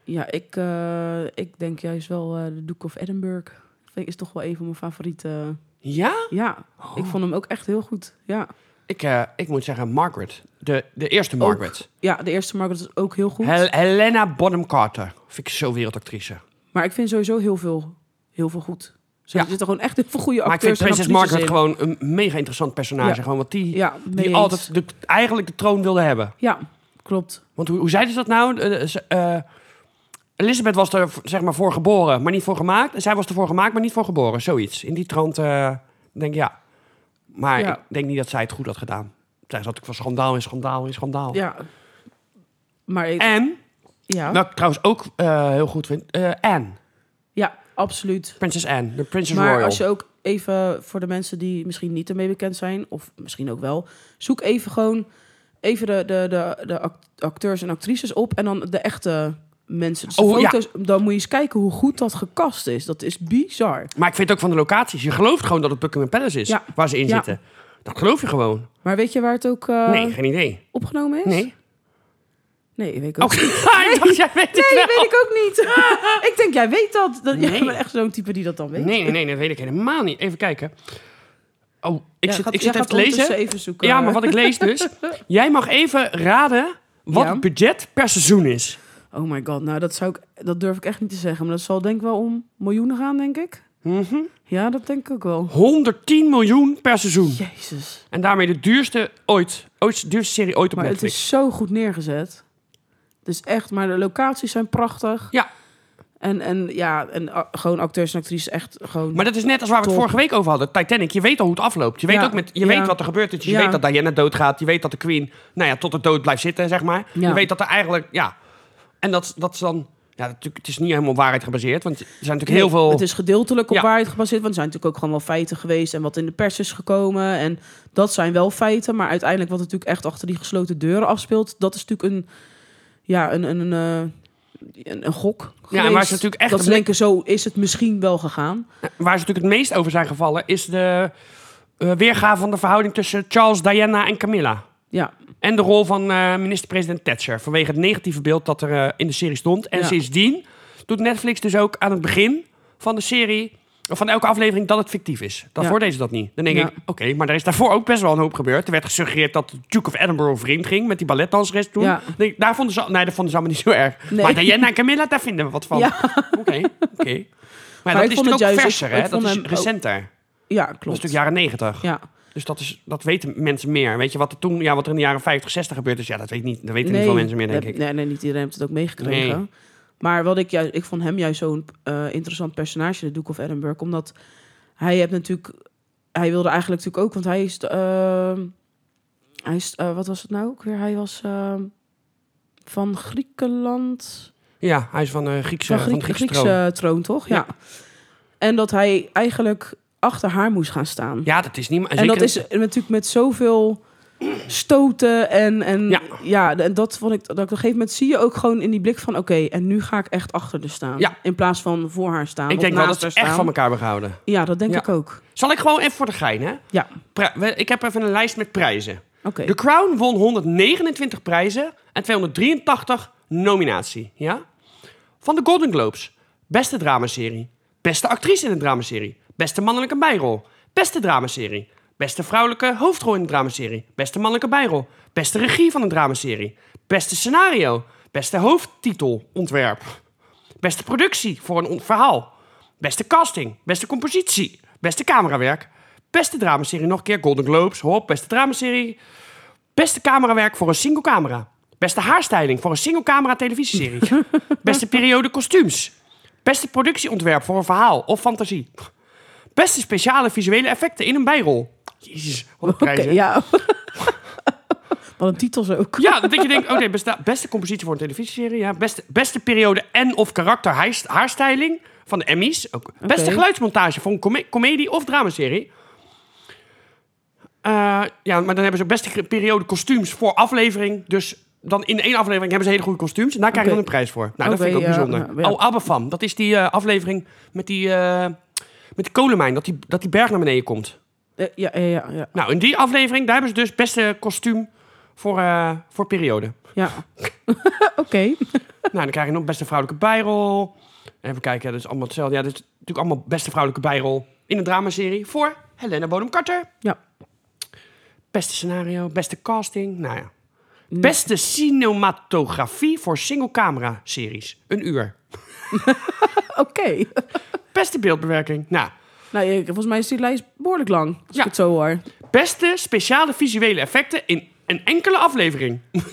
Speaker 1: Ja, ik, eh, ik denk juist wel eh, de Duke of Edinburgh. Vind ik- Is toch wel een van mijn favoriete. eh,
Speaker 2: Ja?
Speaker 1: Ja, ik vond hem ook echt heel goed. Ja,
Speaker 2: Ik, eh, ik moet zeggen Margaret. De, de eerste Margaret.
Speaker 1: ja de eerste Margaret is ook heel goed.
Speaker 2: Hel- Helena Bonham Carter. Vind ik zo wereldactrice.
Speaker 1: Maar ik vind sowieso heel veel, heel veel goed. Zo,
Speaker 2: Ja.
Speaker 1: Er zitten gewoon echt heel veel goede
Speaker 2: Maar ik vind
Speaker 1: acteurs
Speaker 2: prinses
Speaker 1: en actrices in.
Speaker 2: Margaret gewoon een mega interessant personage.
Speaker 1: Ja.
Speaker 2: Gewoon, want die,
Speaker 1: Ja, mee
Speaker 2: die
Speaker 1: eens.
Speaker 2: altijd de, eigenlijk de troon wilde hebben.
Speaker 1: Ja, klopt.
Speaker 2: Want hoe, hoe zeiden ze dat nou? Eh, ze- eh, Elizabeth was er v- zeg maar voor geboren, maar niet voor gemaakt. En zij was ervoor gemaakt, maar niet voor geboren. Zoiets. In die trant eh, denk ik ja. Maar
Speaker 1: Ja.
Speaker 2: ik denk niet dat zij het goed had gedaan. Zij zat ook van schandaal in schandaal in schandaal.
Speaker 1: Ja. Maar ik,
Speaker 2: En,
Speaker 1: ja.
Speaker 2: wat ik trouwens ook eh, heel goed vind, eh, Anne.
Speaker 1: ja, absoluut.
Speaker 2: Prinses Anne, de Princess
Speaker 1: Maar
Speaker 2: Royal.
Speaker 1: als je ook even voor de mensen die misschien niet ermee bekend zijn, of misschien ook wel, zoek even gewoon even de, de, de, de act- acteurs en actrices op en dan de echte mensen. Dus de
Speaker 2: Oh, ja.
Speaker 1: foto's, dan moet je eens kijken hoe goed dat gekast is. Dat is bizar.
Speaker 2: Maar ik vind het ook van de locaties. Je gelooft gewoon dat het Buckingham Palace is,
Speaker 1: Ja.
Speaker 2: waar ze in
Speaker 1: Ja.
Speaker 2: zitten. Dat geloof je gewoon.
Speaker 1: Maar weet je waar het ook eh,
Speaker 2: nee, geen idee.
Speaker 1: opgenomen is?
Speaker 2: Nee.
Speaker 1: Nee, weet ik ook
Speaker 2: Oké, [LAUGHS] ik dacht, jij weet het
Speaker 1: Nee,
Speaker 2: wel.
Speaker 1: dat weet ik ook niet. [LAUGHS] ik denk, jij weet dat. dat Jij
Speaker 2: Nee.
Speaker 1: bent [LAUGHS] echt zo'n type die dat dan weet.
Speaker 2: Nee, nee, nee, dat weet ik helemaal niet. Even kijken. Oh, ik
Speaker 1: Jij
Speaker 2: zit,
Speaker 1: gaat-
Speaker 2: ik
Speaker 1: jij
Speaker 2: zit even
Speaker 1: gaat
Speaker 2: te lezen.
Speaker 1: ondertussen even zoeken.
Speaker 2: Ja, maar wat ik lees dus. Jij mag even raden wat
Speaker 1: Ja.
Speaker 2: het budget per seizoen
Speaker 1: [LAUGHS]
Speaker 2: is.
Speaker 1: Oh my god, nou dat, zou ik, dat durf ik echt niet te zeggen. Maar dat zal denk ik wel om miljoenen gaan, denk ik.
Speaker 2: Mhm.
Speaker 1: Ja, dat denk ik ook wel.
Speaker 2: 110 miljoen per seizoen.
Speaker 1: Jezus.
Speaker 2: En daarmee de duurste ooit. ooit de duurste serie ooit op
Speaker 1: Maar het
Speaker 2: Netflix.
Speaker 1: is zo goed neergezet. Het is echt, maar de locaties zijn prachtig.
Speaker 2: Ja.
Speaker 1: En, en ja, en ah, gewoon acteurs en actrices echt gewoon...
Speaker 2: Maar dat is net als waar we het
Speaker 1: Top.
Speaker 2: vorige week over hadden. Titanic, je weet al hoe het afloopt. Je weet,
Speaker 1: Ja,
Speaker 2: ook met, je
Speaker 1: ja.
Speaker 2: weet wat er gebeurt. Dus je
Speaker 1: Ja.
Speaker 2: weet dat Diana doodgaat. Je weet dat de Queen nou ja, tot de dood blijft zitten, zeg maar.
Speaker 1: Ja.
Speaker 2: Je weet dat er eigenlijk... Ja. En dat, dat is dan... Ja, natuurlijk, het is niet helemaal op waarheid gebaseerd. Want er zijn natuurlijk heel
Speaker 1: Nee,
Speaker 2: veel...
Speaker 1: Het is gedeeltelijk op
Speaker 2: Ja.
Speaker 1: waarheid gebaseerd. Want er zijn natuurlijk ook gewoon wel feiten geweest. En wat in de pers is gekomen. En dat zijn wel feiten. Maar uiteindelijk wat er natuurlijk echt achter die gesloten deuren afspeelt. Dat is natuurlijk een... Ja, een... een, een eh, een, een gok.
Speaker 2: maar
Speaker 1: geweest.
Speaker 2: is natuurlijk echt
Speaker 1: Dat ze
Speaker 2: een-
Speaker 1: denken, zo is het misschien wel gegaan.
Speaker 2: Waar ze natuurlijk het meest over zijn gevallen... is de eh, weergave van de verhouding tussen Charles, Diana en Camilla.
Speaker 1: Ja,
Speaker 2: En de rol van eh, minister-president Thatcher. Vanwege het negatieve beeld dat er eh, in de serie stond. En
Speaker 1: Ja.
Speaker 2: sindsdien doet Netflix dus ook aan het begin van de serie. Of van elke aflevering dat het fictief is. Daarvoor
Speaker 1: Ja.
Speaker 2: deden ze dat niet. Dan denk
Speaker 1: Ja.
Speaker 2: ik, oké, maar er is daarvoor ook best wel een hoop gebeurd. Er werd gesuggereerd dat de Duke of Edinburgh vreemd ging met die balletdanseres toen.
Speaker 1: Ja.
Speaker 2: Dan Denk, ik, daar vonden ze, nee, dat vonden ze allemaal niet zo erg.
Speaker 1: Nee.
Speaker 2: Maar Diana en Camilla, daar vinden we wat van.
Speaker 1: Ja.
Speaker 2: Oké, oké. Maar,
Speaker 1: ik
Speaker 2: dat is
Speaker 1: vond het
Speaker 2: natuurlijk ook
Speaker 1: juist-
Speaker 2: verser,
Speaker 1: ik-
Speaker 2: hè?
Speaker 1: ik
Speaker 2: Dat
Speaker 1: vond
Speaker 2: is
Speaker 1: hem ook-
Speaker 2: recenter.
Speaker 1: ja
Speaker 2: Dat is
Speaker 1: klopt.
Speaker 2: natuurlijk jaren negentig.
Speaker 1: Ja,
Speaker 2: Dus dat, is, dat weten mensen meer. Weet je wat er toen, ja, wat er in de jaren 50, 60 gebeurd is? Ja, dat, weet niet, dat weten niet veel mensen meer, denk
Speaker 1: heb-
Speaker 2: ik.
Speaker 1: Nee, nee, niet iedereen heeft het ook meegekregen.
Speaker 2: Nee.
Speaker 1: Maar wat ik juist, ik vond hem juist zo'n eh, interessant personage, de Duke of Edinburgh, omdat hij heeft natuurlijk, hij wilde eigenlijk natuurlijk ook, want hij is, eh, Hij is, eh, wat was het nou ook weer? Hij was ehm, van Griekenland.
Speaker 2: Ja, hij is van de Griekse,
Speaker 1: Van
Speaker 2: van
Speaker 1: Griek-
Speaker 2: de Griekse,
Speaker 1: Griekse
Speaker 2: troon.
Speaker 1: troon, toch? Ja.
Speaker 2: Ja.
Speaker 1: En dat hij eigenlijk achter haar moest gaan staan.
Speaker 2: Ja, dat is niet...
Speaker 1: en dat is natuurlijk met zoveel stoten en, en ja.
Speaker 2: Ja.
Speaker 1: en dat vond ik dat ik op een gegeven moment zie je ook gewoon in die blik van oké en nu ga ik echt achter de staan
Speaker 2: Ja.
Speaker 1: in plaats van voor haar staan
Speaker 2: Ik
Speaker 1: of
Speaker 2: denk wel dat
Speaker 1: naast
Speaker 2: ze
Speaker 1: haar
Speaker 2: echt van
Speaker 1: staan.
Speaker 2: elkaar hebben gehouden.
Speaker 1: ja dat denk
Speaker 2: Ja.
Speaker 1: ik ook
Speaker 2: Zal ik gewoon even voor de gein, hè?
Speaker 1: ja
Speaker 2: Pri- we- ik heb even een lijst met prijzen.
Speaker 1: oké
Speaker 2: The Crown won 129 prijzen en 283 nominatie. Ja? Van de Golden Globes. Beste dramaserie. Beste actrice in een dramaserie. Beste mannelijke bijrol. Beste dramaserie. Beste vrouwelijke hoofdrol in een dramaserie. Beste mannelijke bijrol. Beste regie van een dramaserie. Beste scenario. Beste hoofdtitelontwerp. Beste productie voor een on- verhaal. Beste casting. Beste compositie. Beste camerawerk. Beste dramaserie nog een keer. Golden Globes. Hop, beste dramaserie. Beste camerawerk voor een single camera. Beste haarstyling voor een single camera televisieserie. Beste periode kostuums. Beste productieontwerp voor een verhaal of fantasie. Beste speciale visuele effecten in een bijrol. Jezus, wat een
Speaker 1: oké
Speaker 2: prijs, hè? [LAUGHS]
Speaker 1: ja wat een titels ook
Speaker 2: Ja, dat je denkt, oké, beste, beste compositie voor een televisieserie. Ja. Beste, beste periode en of karakter haarst- haarstyling van de Emmys. Ook. Beste
Speaker 1: Oké.
Speaker 2: geluidsmontage voor een come- comedie of dramaserie. Eh, ja, maar dan hebben ze beste ge- periode kostuums voor aflevering. Dus dan in één aflevering hebben ze hele goede kostuums. En daar krijg je
Speaker 1: Oké.
Speaker 2: dan een prijs voor. Nou, dat
Speaker 1: Oké,
Speaker 2: vind ik ook
Speaker 1: ja,
Speaker 2: bijzonder.
Speaker 1: ja.
Speaker 2: Oh, Abbafam. Dat is die eh, aflevering met die, eh, met die kolenmijn. Dat die, dat die berg naar beneden komt.
Speaker 1: Eh, ja ja ja ja,
Speaker 2: Nou, in die aflevering, daar hebben ze dus beste kostuum voor, eh, voor periode.
Speaker 1: ja. [LAUGHS] oké
Speaker 2: Nou, dan krijg je nog beste vrouwelijke bijrol. Even kijken, ja, dat is allemaal hetzelfde. Ja, dat is natuurlijk allemaal beste vrouwelijke bijrol in een dramaserie voor Helena Bonham Carter.
Speaker 1: ja
Speaker 2: Beste scenario, beste casting, nou ja.
Speaker 1: Mm.
Speaker 2: Beste cinematografie voor single camera series. Een uur.
Speaker 1: oké
Speaker 2: Beste beeldbewerking. Nou,
Speaker 1: nou ik- volgens mij is die lijst behoorlijk lang als
Speaker 2: Ja.
Speaker 1: ik het zo hoor
Speaker 2: beste speciale visuele effecten in een enkele aflevering.
Speaker 1: [LAUGHS]
Speaker 2: [LAUGHS] dus,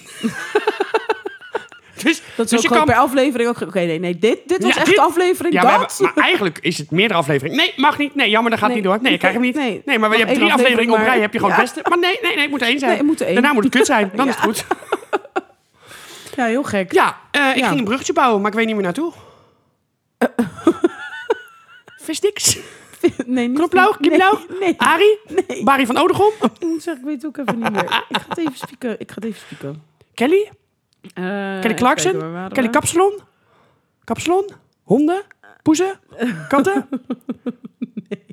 Speaker 1: Dat is
Speaker 2: dus
Speaker 1: ook
Speaker 2: je
Speaker 1: gewoon
Speaker 2: kan
Speaker 1: per aflevering ook... Oké, nee, nee, dit, dit was
Speaker 2: Ja,
Speaker 1: echt
Speaker 2: dit-
Speaker 1: de aflevering,
Speaker 2: Ja,
Speaker 1: dat...
Speaker 2: maar, we hebben- maar eigenlijk is het meerdere afleveringen. Nee, mag niet. Nee, jammer, dat gaat
Speaker 1: Nee.
Speaker 2: niet door. Nee, ik krijg hem niet.
Speaker 1: Nee.
Speaker 2: Nee, maar
Speaker 1: Nog
Speaker 2: je hebt
Speaker 1: één
Speaker 2: drie afleveringen op
Speaker 1: aflevering,
Speaker 2: rij,
Speaker 1: maar-
Speaker 2: heb je gewoon het beste. Maar nee, nee, nee, het moet één zijn.
Speaker 1: Nee, het moet één.
Speaker 2: Daarna moet het kut zijn,
Speaker 1: [LAUGHS]
Speaker 2: dan is het goed.
Speaker 1: Ja, heel gek.
Speaker 2: Ja, eh, ik
Speaker 1: Ja.
Speaker 2: ging een bruggetje bouwen, maar ik weet niet meer
Speaker 1: [LAUGHS]
Speaker 2: naartoe. Vis niks.
Speaker 1: nee, niet,
Speaker 2: Knopblauw,
Speaker 1: nee,
Speaker 2: Knieblauw,
Speaker 1: [LAUGHS] Nee,
Speaker 2: Arie,
Speaker 1: nee.
Speaker 2: Barry van Odegom,
Speaker 1: Ah. Ik zeg, ik weet het ook even [LAUGHS] niet meer. Ik ga het even spieken. Ik ga het even spieken.
Speaker 2: Kelly,
Speaker 1: Eh,
Speaker 2: Kelly
Speaker 1: even
Speaker 2: Clarkson,
Speaker 1: kijken, waar waren
Speaker 2: Kelly
Speaker 1: we?
Speaker 2: Kapsalon, Kapsalon, honden, poezen,
Speaker 1: [LAUGHS]
Speaker 2: katten. Nee.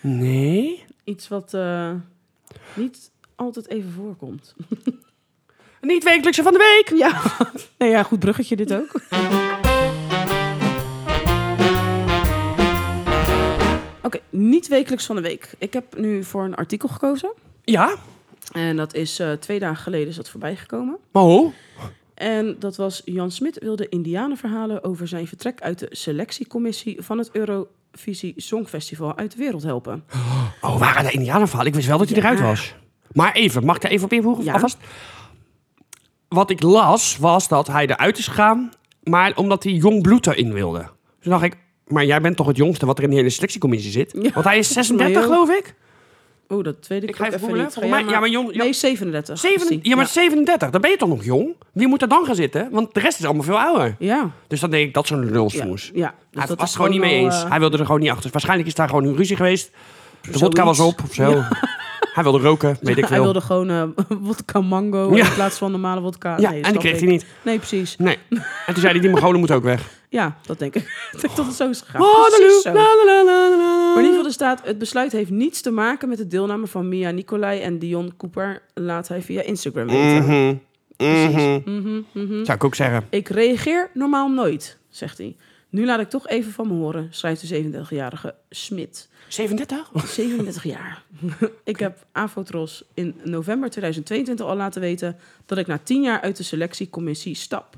Speaker 2: Nee.
Speaker 1: Iets wat eh, niet altijd even [LAUGHS] voorkomt.
Speaker 2: Niet wekelijkse van de week.
Speaker 1: Ja. nee, Nou ja, goed bruggetje dit [LAUGHS] ook. Oké, niet wekelijks van de week. Ik heb nu voor een artikel gekozen.
Speaker 2: Ja,
Speaker 1: En dat is eh, twee dagen geleden is dat voorbij gekomen.
Speaker 2: maar hoe?
Speaker 1: En dat was Jan Smit wilde indianenverhalen over zijn vertrek uit de selectiecommissie van het Eurovisie Songfestival uit de wereld helpen.
Speaker 2: Oh, waren de Indianenverhalen? Ik wist wel dat hij
Speaker 1: Ja.
Speaker 2: eruit was. Maar even, mag ik daar even op invoegen?
Speaker 1: Ja.
Speaker 2: Alvast? Wat ik las, was dat hij eruit is gegaan, maar omdat hij jong bloed erin wilde. Dus dacht ik, maar jij bent toch het jongste wat er in de hele selectiecommissie zit?
Speaker 1: Ja.
Speaker 2: Want
Speaker 1: [LAUGHS]
Speaker 2: hij is 36,
Speaker 1: Maar joh.
Speaker 2: geloof ik?
Speaker 1: Oh, dat tweede
Speaker 2: Ik
Speaker 1: ik
Speaker 2: ga even
Speaker 1: even
Speaker 2: googlen.
Speaker 1: niet. Ga
Speaker 2: Volgens mij-
Speaker 1: jij
Speaker 2: ja, maar jong-
Speaker 1: Nee, 37.
Speaker 2: Zeven,
Speaker 1: Precies.
Speaker 2: ja, maar 37, dan ben je toch nog jong? Wie moet er dan gaan zitten? Want de rest is allemaal veel ouder.
Speaker 1: Ja.
Speaker 2: Dus dan denk ik, dat is een
Speaker 1: Ja.
Speaker 2: lulsmoes.
Speaker 1: ja. Dus
Speaker 2: hij
Speaker 1: dat
Speaker 2: was
Speaker 1: is
Speaker 2: er gewoon niet mee
Speaker 1: wel,
Speaker 2: eens.
Speaker 1: eh,
Speaker 2: Hij wilde er gewoon niet achter. Waarschijnlijk is daar gewoon een ruzie geweest. De vodka was
Speaker 1: zoiets.
Speaker 2: op of zo. Hij wilde roken, weet ik
Speaker 1: [LAUGHS] Hij
Speaker 2: veel.
Speaker 1: wilde gewoon eh wodka mango
Speaker 2: Ja.
Speaker 1: in plaats van normale wodka.
Speaker 2: Ja,
Speaker 1: Nee,
Speaker 2: en die
Speaker 1: snap
Speaker 2: kreeg
Speaker 1: ik.
Speaker 2: hij niet.
Speaker 1: Nee, precies.
Speaker 2: Nee. En toen zei hij, die Mongolen moet ook weg.
Speaker 1: Ja, dat denk ik. [LAUGHS] ik denk dat het zo is gegaan.
Speaker 2: Waterloo,
Speaker 1: Precies zo.
Speaker 2: la, la, la, la, la.
Speaker 1: Maar in ieder geval, er staat... Het besluit heeft niets te maken met de deelname van Mia Nicolai en Dion Cooper. Laat hij via Instagram weten.
Speaker 2: Mhm.
Speaker 1: Precies.
Speaker 2: Mhm.
Speaker 1: Mhm, mhm.
Speaker 2: Zou ik ook zeggen.
Speaker 1: Ik reageer normaal nooit, zegt hij. Nu laat ik toch even van me horen, schrijft de 37-jarige Smit.
Speaker 2: 37?
Speaker 1: 37 jaar. [LAUGHS] ik heb Afrotros in november 2022 al laten weten dat ik na 10 jaar uit de selectiecommissie stap.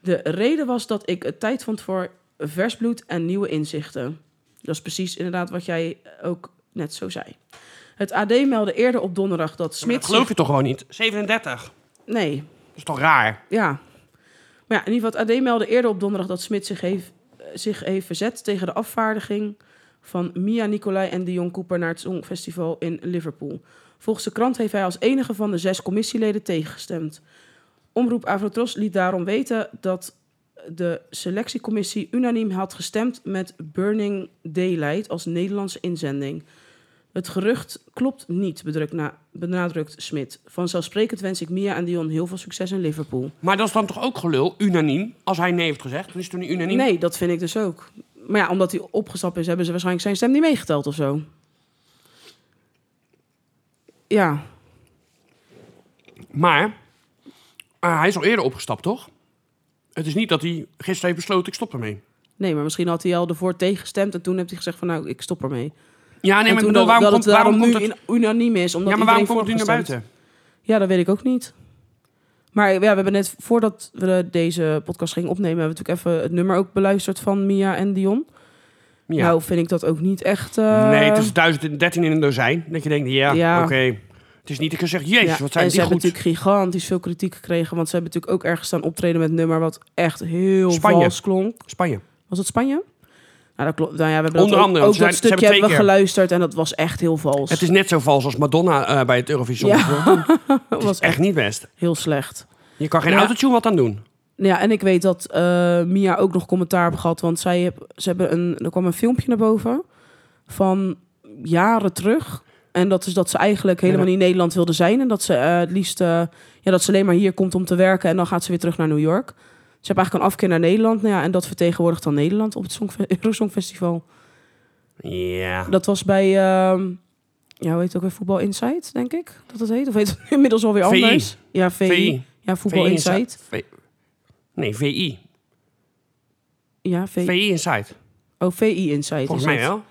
Speaker 1: De reden was dat ik het tijd vond voor vers bloed en nieuwe inzichten. Dat is precies inderdaad wat jij ook net zo zei. Het AD meldde eerder op donderdag dat
Speaker 2: Dat
Speaker 1: Smit.
Speaker 2: geloof je toch gewoon niet? 37.
Speaker 1: zich- Nee,
Speaker 2: Dat is toch raar?
Speaker 1: ja. Maar ja, in ieder geval, het AD meldde eerder op donderdag dat Smit zich heeft, eh, zich heeft verzet tegen de afvaardiging van Mia Nicolai en Dion Cooper naar het Songfestival in Liverpool. Volgens de krant heeft hij als enige van de zes commissieleden tegengestemd. Omroep Avrotros liet daarom weten dat de selectiecommissie unaniem had gestemd met Burning Daylight als Nederlandse inzending. Het gerucht klopt niet, bedrukt na- benadrukt Smit. Vanzelfsprekend wens ik Mia en Dion heel veel succes in Liverpool.
Speaker 2: Maar dat is dan toch ook gelul, unaniem? Als hij nee heeft gezegd, dan is het toch niet unaniem?
Speaker 1: Nee, dat vind ik dus ook. Maar ja, omdat hij opgestapt is, hebben ze waarschijnlijk zijn stem niet meegeteld of zo. Ja,
Speaker 2: Maar eh, hij is al eerder opgestapt, toch? Het is niet dat hij gisteren heeft besloten, ik stop ermee.
Speaker 1: nee, maar misschien had hij al ervoor tegengestemd en toen heeft hij gezegd van nou, ik stop ermee.
Speaker 2: Ja, nee,
Speaker 1: en
Speaker 2: maar ik
Speaker 1: toen dat,
Speaker 2: bedoel, waarom
Speaker 1: dat
Speaker 2: komt,
Speaker 1: het daarom
Speaker 2: waarom komt
Speaker 1: nu
Speaker 2: het...
Speaker 1: in- unaniem is. Omdat
Speaker 2: Ja, maar waarom
Speaker 1: iedereen
Speaker 2: komt het nu naar
Speaker 1: voorgestemd-
Speaker 2: buiten?
Speaker 1: Ja, dat weet ik ook niet. Maar ja, we hebben net, voordat we deze podcast gingen opnemen, hebben we natuurlijk even het nummer ook beluisterd van Mia en Dion.
Speaker 2: Ja.
Speaker 1: Nou, vind ik dat ook niet echt... eh,
Speaker 2: nee, het is 1013 in een dozijn. Dat je denkt, ja,
Speaker 1: Ja.
Speaker 2: oké. Het is niet dat je zegt, jezus,
Speaker 1: Ja,
Speaker 2: wat zijn
Speaker 1: en
Speaker 2: die
Speaker 1: ze hebben
Speaker 2: goed.
Speaker 1: natuurlijk gigantisch veel kritiek gekregen. Want ze hebben natuurlijk ook ergens staan optreden met een nummer... wat echt heel
Speaker 2: Spanje.
Speaker 1: vals klonk.
Speaker 2: Spanje.
Speaker 1: Was het Spanje? Nou, dat klopt. Nou ja, we hebben dat
Speaker 2: Onder
Speaker 1: ook,
Speaker 2: andere,
Speaker 1: ook
Speaker 2: want ze
Speaker 1: dat
Speaker 2: zijn- ze
Speaker 1: stukje hebben we
Speaker 2: hebben
Speaker 1: geluisterd... en dat was echt heel vals.
Speaker 2: Het is net zo vals als Madonna eh, bij het Eurovisie.
Speaker 1: Ja.
Speaker 2: Songfestival.
Speaker 1: dat
Speaker 2: Het is
Speaker 1: was echt
Speaker 2: echt niet best.
Speaker 1: heel slecht.
Speaker 2: Je kan geen
Speaker 1: Ja.
Speaker 2: autotune wat aan doen.
Speaker 1: Nou Ja, en ik weet dat eh, Mia ook nog commentaar heeft gehad. Want zij heb, ze hebben een, er kwam een filmpje naar boven van jaren terug. En dat is dat ze eigenlijk helemaal
Speaker 2: Ja.
Speaker 1: niet in Nederland wilde zijn. En dat ze eh, het liefst eh, ja, dat ze alleen maar hier komt om te werken. En dan gaat ze weer terug naar New York. Ze hebben eigenlijk een afkeer naar Nederland. Nou ja, en dat vertegenwoordigt dan Nederland op het Songfe- [LAUGHS] Eurosongfestival.
Speaker 2: Ja.
Speaker 1: Dat was bij, ehm ja, hoe heet het ook weer? Voetbal Insight, denk ik. Dat het heet. Of heet het [LAUGHS] inmiddels alweer
Speaker 2: VI.
Speaker 1: anders? Ja, VI.
Speaker 2: VI.
Speaker 1: Ja, Voetbal
Speaker 2: VI
Speaker 1: Insight.
Speaker 2: V- Nee, VI.
Speaker 1: Ja, VI.
Speaker 2: VI Insight.
Speaker 1: Oh, VI Insight.
Speaker 2: Volgens
Speaker 1: is
Speaker 2: mij
Speaker 1: dat.
Speaker 2: wel.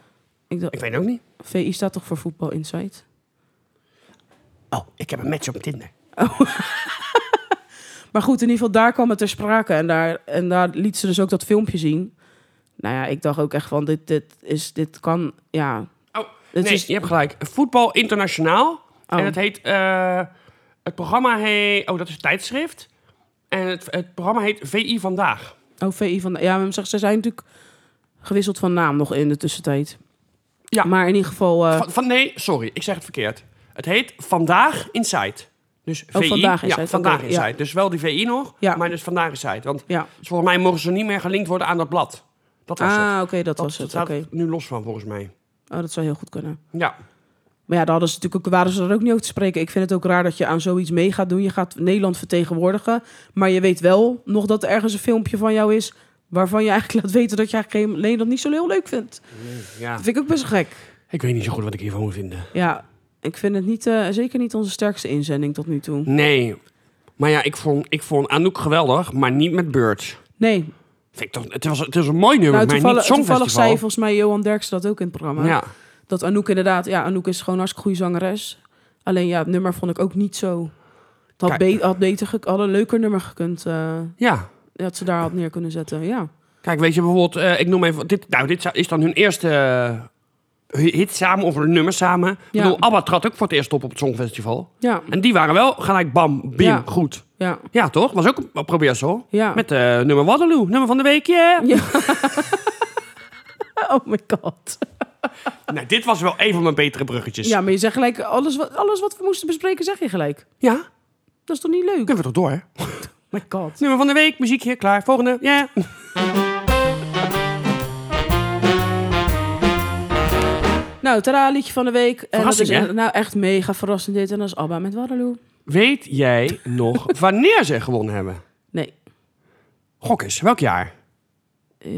Speaker 1: Ik dacht,
Speaker 2: Ik weet ook niet.
Speaker 1: VI staat toch voor Voetbal Insight?
Speaker 2: Oh, ik heb een match op Tinder.
Speaker 1: Maar goed, in ieder geval, daar kwam het ter sprake. En daar, en daar liet ze dus ook dat filmpje zien. Nou ja, ik dacht ook echt van, dit, dit, is, dit kan... Ja,
Speaker 2: Oh,
Speaker 1: Het
Speaker 2: nee,
Speaker 1: is-
Speaker 2: je hebt gelijk. Voetbal Internationaal. En
Speaker 1: Oh.
Speaker 2: het heet... eh, het programma heet... Oh, dat is tijdschrift. En het, het programma heet VI Vandaag.
Speaker 1: oh, VI van... Ja, maar zeg, ze zijn natuurlijk gewisseld van naam nog in de tussentijd.
Speaker 2: Ja.
Speaker 1: Maar in ieder geval... eh,
Speaker 2: Van, van- nee, sorry, ik zeg het verkeerd. Het heet Vandaag Insight. Dus VI,
Speaker 1: Oh, Vandaag
Speaker 2: Ja,
Speaker 1: Insight,
Speaker 2: vandaag
Speaker 1: oké,
Speaker 2: Insight. Dus wel die VI nog,
Speaker 1: Ja.
Speaker 2: maar dus Vandaag Insight. Want
Speaker 1: ja.
Speaker 2: volgens mij mogen ze niet meer gelinkt worden aan dat blad. Dat was het.
Speaker 1: Ah, oké, dat was
Speaker 2: dat
Speaker 1: het.
Speaker 2: staat
Speaker 1: Oké.
Speaker 2: nu los van, volgens mij.
Speaker 1: Oh, dat zou heel goed kunnen.
Speaker 2: Ja,
Speaker 1: Maar ja, daar hadden ze natuurlijk ook, waren ze er ook niet over te spreken. Ik vind het ook raar dat je aan zoiets mee gaat doen. Je gaat Nederland vertegenwoordigen. Maar je weet wel nog dat er ergens een filmpje van jou is. waarvan je eigenlijk [LAUGHS] laat weten dat je eigenlijk geen- Nederland niet zo heel leuk vindt.
Speaker 2: ja.
Speaker 1: Dat vind ik ook best gek.
Speaker 2: Ik weet niet zo goed wat ik hiervan moet vinden.
Speaker 1: Ja, ik vind het niet, eh, zeker niet onze sterkste inzending tot nu toe.
Speaker 2: Nee. Maar ja, ik vond, ik vond Anouk geweldig, maar niet met Birds.
Speaker 1: Nee,
Speaker 2: Vind ik toch, het, was, het is een mooi
Speaker 1: nou,
Speaker 2: nummer, maar niet
Speaker 1: toevallig,
Speaker 2: het
Speaker 1: toevallig zei
Speaker 2: songfestival.
Speaker 1: volgens mij Johan Derksen dat ook in het programma.
Speaker 2: Ja.
Speaker 1: Dat Anouk inderdaad, ja, Anouk is gewoon een hartstikke goede zangeres. Alleen ja, het nummer vond ik ook niet zo. Het had,
Speaker 2: Kijk.
Speaker 1: be- had beter, ge- had een leuker nummer gekund. eh,
Speaker 2: ja.
Speaker 1: dat ze daar had neer kunnen zetten, ja.
Speaker 2: Kijk, weet je bijvoorbeeld, eh, ik noem even, dit, nou, dit zou- is dan hun eerste eh, hit samen of hun nummer samen. Ik
Speaker 1: Ja.
Speaker 2: bedoel, ABBA trad ook voor het eerst op op het Songfestival.
Speaker 1: Ja,
Speaker 2: En die waren wel gelijk bam, bim,
Speaker 1: Ja.
Speaker 2: goed.
Speaker 1: ja,
Speaker 2: Ja, toch? Was ook een- een probeersel.
Speaker 1: ja.
Speaker 2: Met eh, nummer Waterloo, nummer van de week, yeah.
Speaker 1: Ja. oh my god.
Speaker 2: Nou, dit was wel een van mijn betere bruggetjes.
Speaker 1: Ja, maar je zegt gelijk, alles wat, alles wat we moesten bespreken zeg je gelijk.
Speaker 2: Ja,
Speaker 1: Dat is toch niet leuk?
Speaker 2: kunnen we toch door, hè? Oh
Speaker 1: my god.
Speaker 2: Nummer van de week, muziekje, klaar. Volgende, ja.
Speaker 1: Nou, tada, liedje van de week. En dat
Speaker 2: Verrassing,
Speaker 1: is
Speaker 2: hè?
Speaker 1: echt- nou echt mega verrassend dit. En dat is Abba met Waterloo.
Speaker 2: Weet jij [LAUGHS] nog wanneer ze gewonnen hebben?
Speaker 1: Nee,
Speaker 2: Gok eens, welk jaar?
Speaker 1: Eh,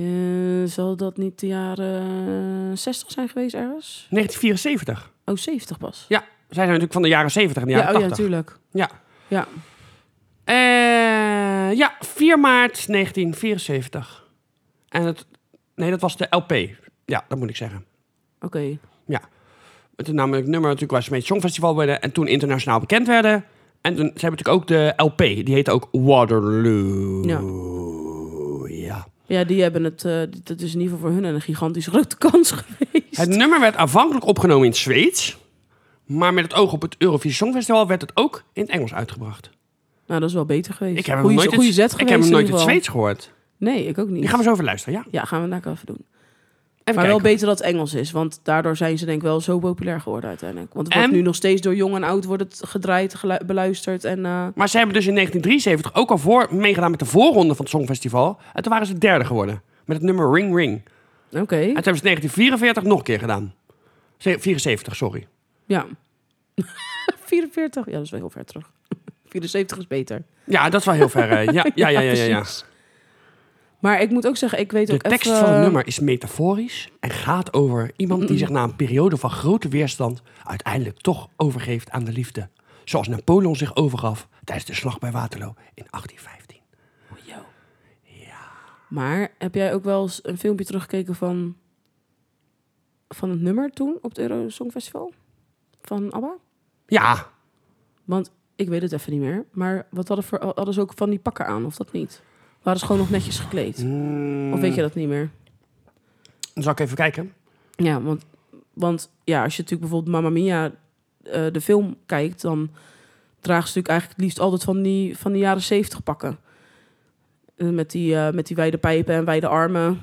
Speaker 1: zal dat niet de jaren 60 zijn geweest ergens?
Speaker 2: 1974.
Speaker 1: Oh, 70 pas.
Speaker 2: Ja, zij zijn natuurlijk van de jaren 70 en de jaren
Speaker 1: ja, oh ja,
Speaker 2: 80.
Speaker 1: natuurlijk.
Speaker 2: ja.
Speaker 1: Ja.
Speaker 2: Eh, ja, 4 maart 1974. En het... Nee, dat was de LP. Ja, dat moet ik zeggen.
Speaker 1: Oké.
Speaker 2: En Toen namelijk nummer natuurlijk waar ze mee het Songfestival werden. En toen internationaal bekend werden. En toen, ze hebben natuurlijk ook de LP. Die heette ook Waterloo.
Speaker 1: Ja.
Speaker 2: ja.
Speaker 1: Ja, die hebben het, eh, dat is in ieder geval voor hun een gigantisch grote kans [LAUGHS] geweest.
Speaker 2: Het nummer werd aanvankelijk opgenomen in het Zweeds. Maar met het oog op het Eurovisie Songfestival werd het ook in het Engels uitgebracht.
Speaker 1: Nou, dat is wel beter geweest.
Speaker 2: Ik heb hem
Speaker 1: Goeie-
Speaker 2: nooit,
Speaker 1: goeie
Speaker 2: het,
Speaker 1: zet
Speaker 2: ik heb hem
Speaker 1: geweest in
Speaker 2: nooit
Speaker 1: ieder
Speaker 2: het
Speaker 1: geval.
Speaker 2: Zweeds gehoord.
Speaker 1: Nee, ik ook niet.
Speaker 2: Die gaan we zo even luisteren, ja.
Speaker 1: Ja, gaan we daar even doen.
Speaker 2: Even
Speaker 1: maar wel
Speaker 2: kijken.
Speaker 1: beter dat het Engels is, want daardoor zijn ze denk ik wel zo populair geworden uiteindelijk. Want het
Speaker 2: En-
Speaker 1: wordt nu nog steeds door jong en oud wordt het gedraaid, gelu- beluisterd en... eh,
Speaker 2: Maar ze hebben dus in 1973 ook al voor, meegedaan met de voorronde van het Songfestival. En toen waren ze derde geworden. Met het nummer Ring Ring. En
Speaker 1: Oké,
Speaker 2: toen hebben ze het 1944 nog een keer gedaan. Ze- 74, sorry.
Speaker 1: ja. [LAUGHS] 44, ja dat is wel heel ver terug. [LAUGHS] 74 is beter.
Speaker 2: Ja, dat is wel heel ver. eh,
Speaker 1: [LAUGHS]
Speaker 2: Ja, ja, ja, ja, ja, ja.
Speaker 1: precies. Maar ik moet ook zeggen, ik weet
Speaker 2: De
Speaker 1: ook
Speaker 2: tekst
Speaker 1: even- eh,
Speaker 2: van het nummer is metaforisch en gaat over iemand die zich na een periode van grote weerstand uiteindelijk toch overgeeft aan de liefde. Zoals Napoleon zich overgaf tijdens de slag bij Waterloo in 1815. Oh,
Speaker 1: Ja. Maar heb jij ook wel eens een filmpje teruggekeken van, van het nummer toen op het Euro Songfestival? Van ABBA?
Speaker 2: Ja,
Speaker 1: Want ik weet het even niet meer. Maar wat hadden, voor, hadden ze ook van die pakken aan, of dat niet? Waren ze gewoon nog netjes gekleed? Of weet je dat niet meer?
Speaker 2: Mm, dan zal ik even kijken.
Speaker 1: Ja, want, want ja, als je natuurlijk bijvoorbeeld Mamma Mia, eh, de film, kijkt... dan dragen ze natuurlijk eigenlijk het liefst altijd van die, van die jaren zeventig pakken. Eh, met, die, eh, met die wijde pijpen en wijde armen.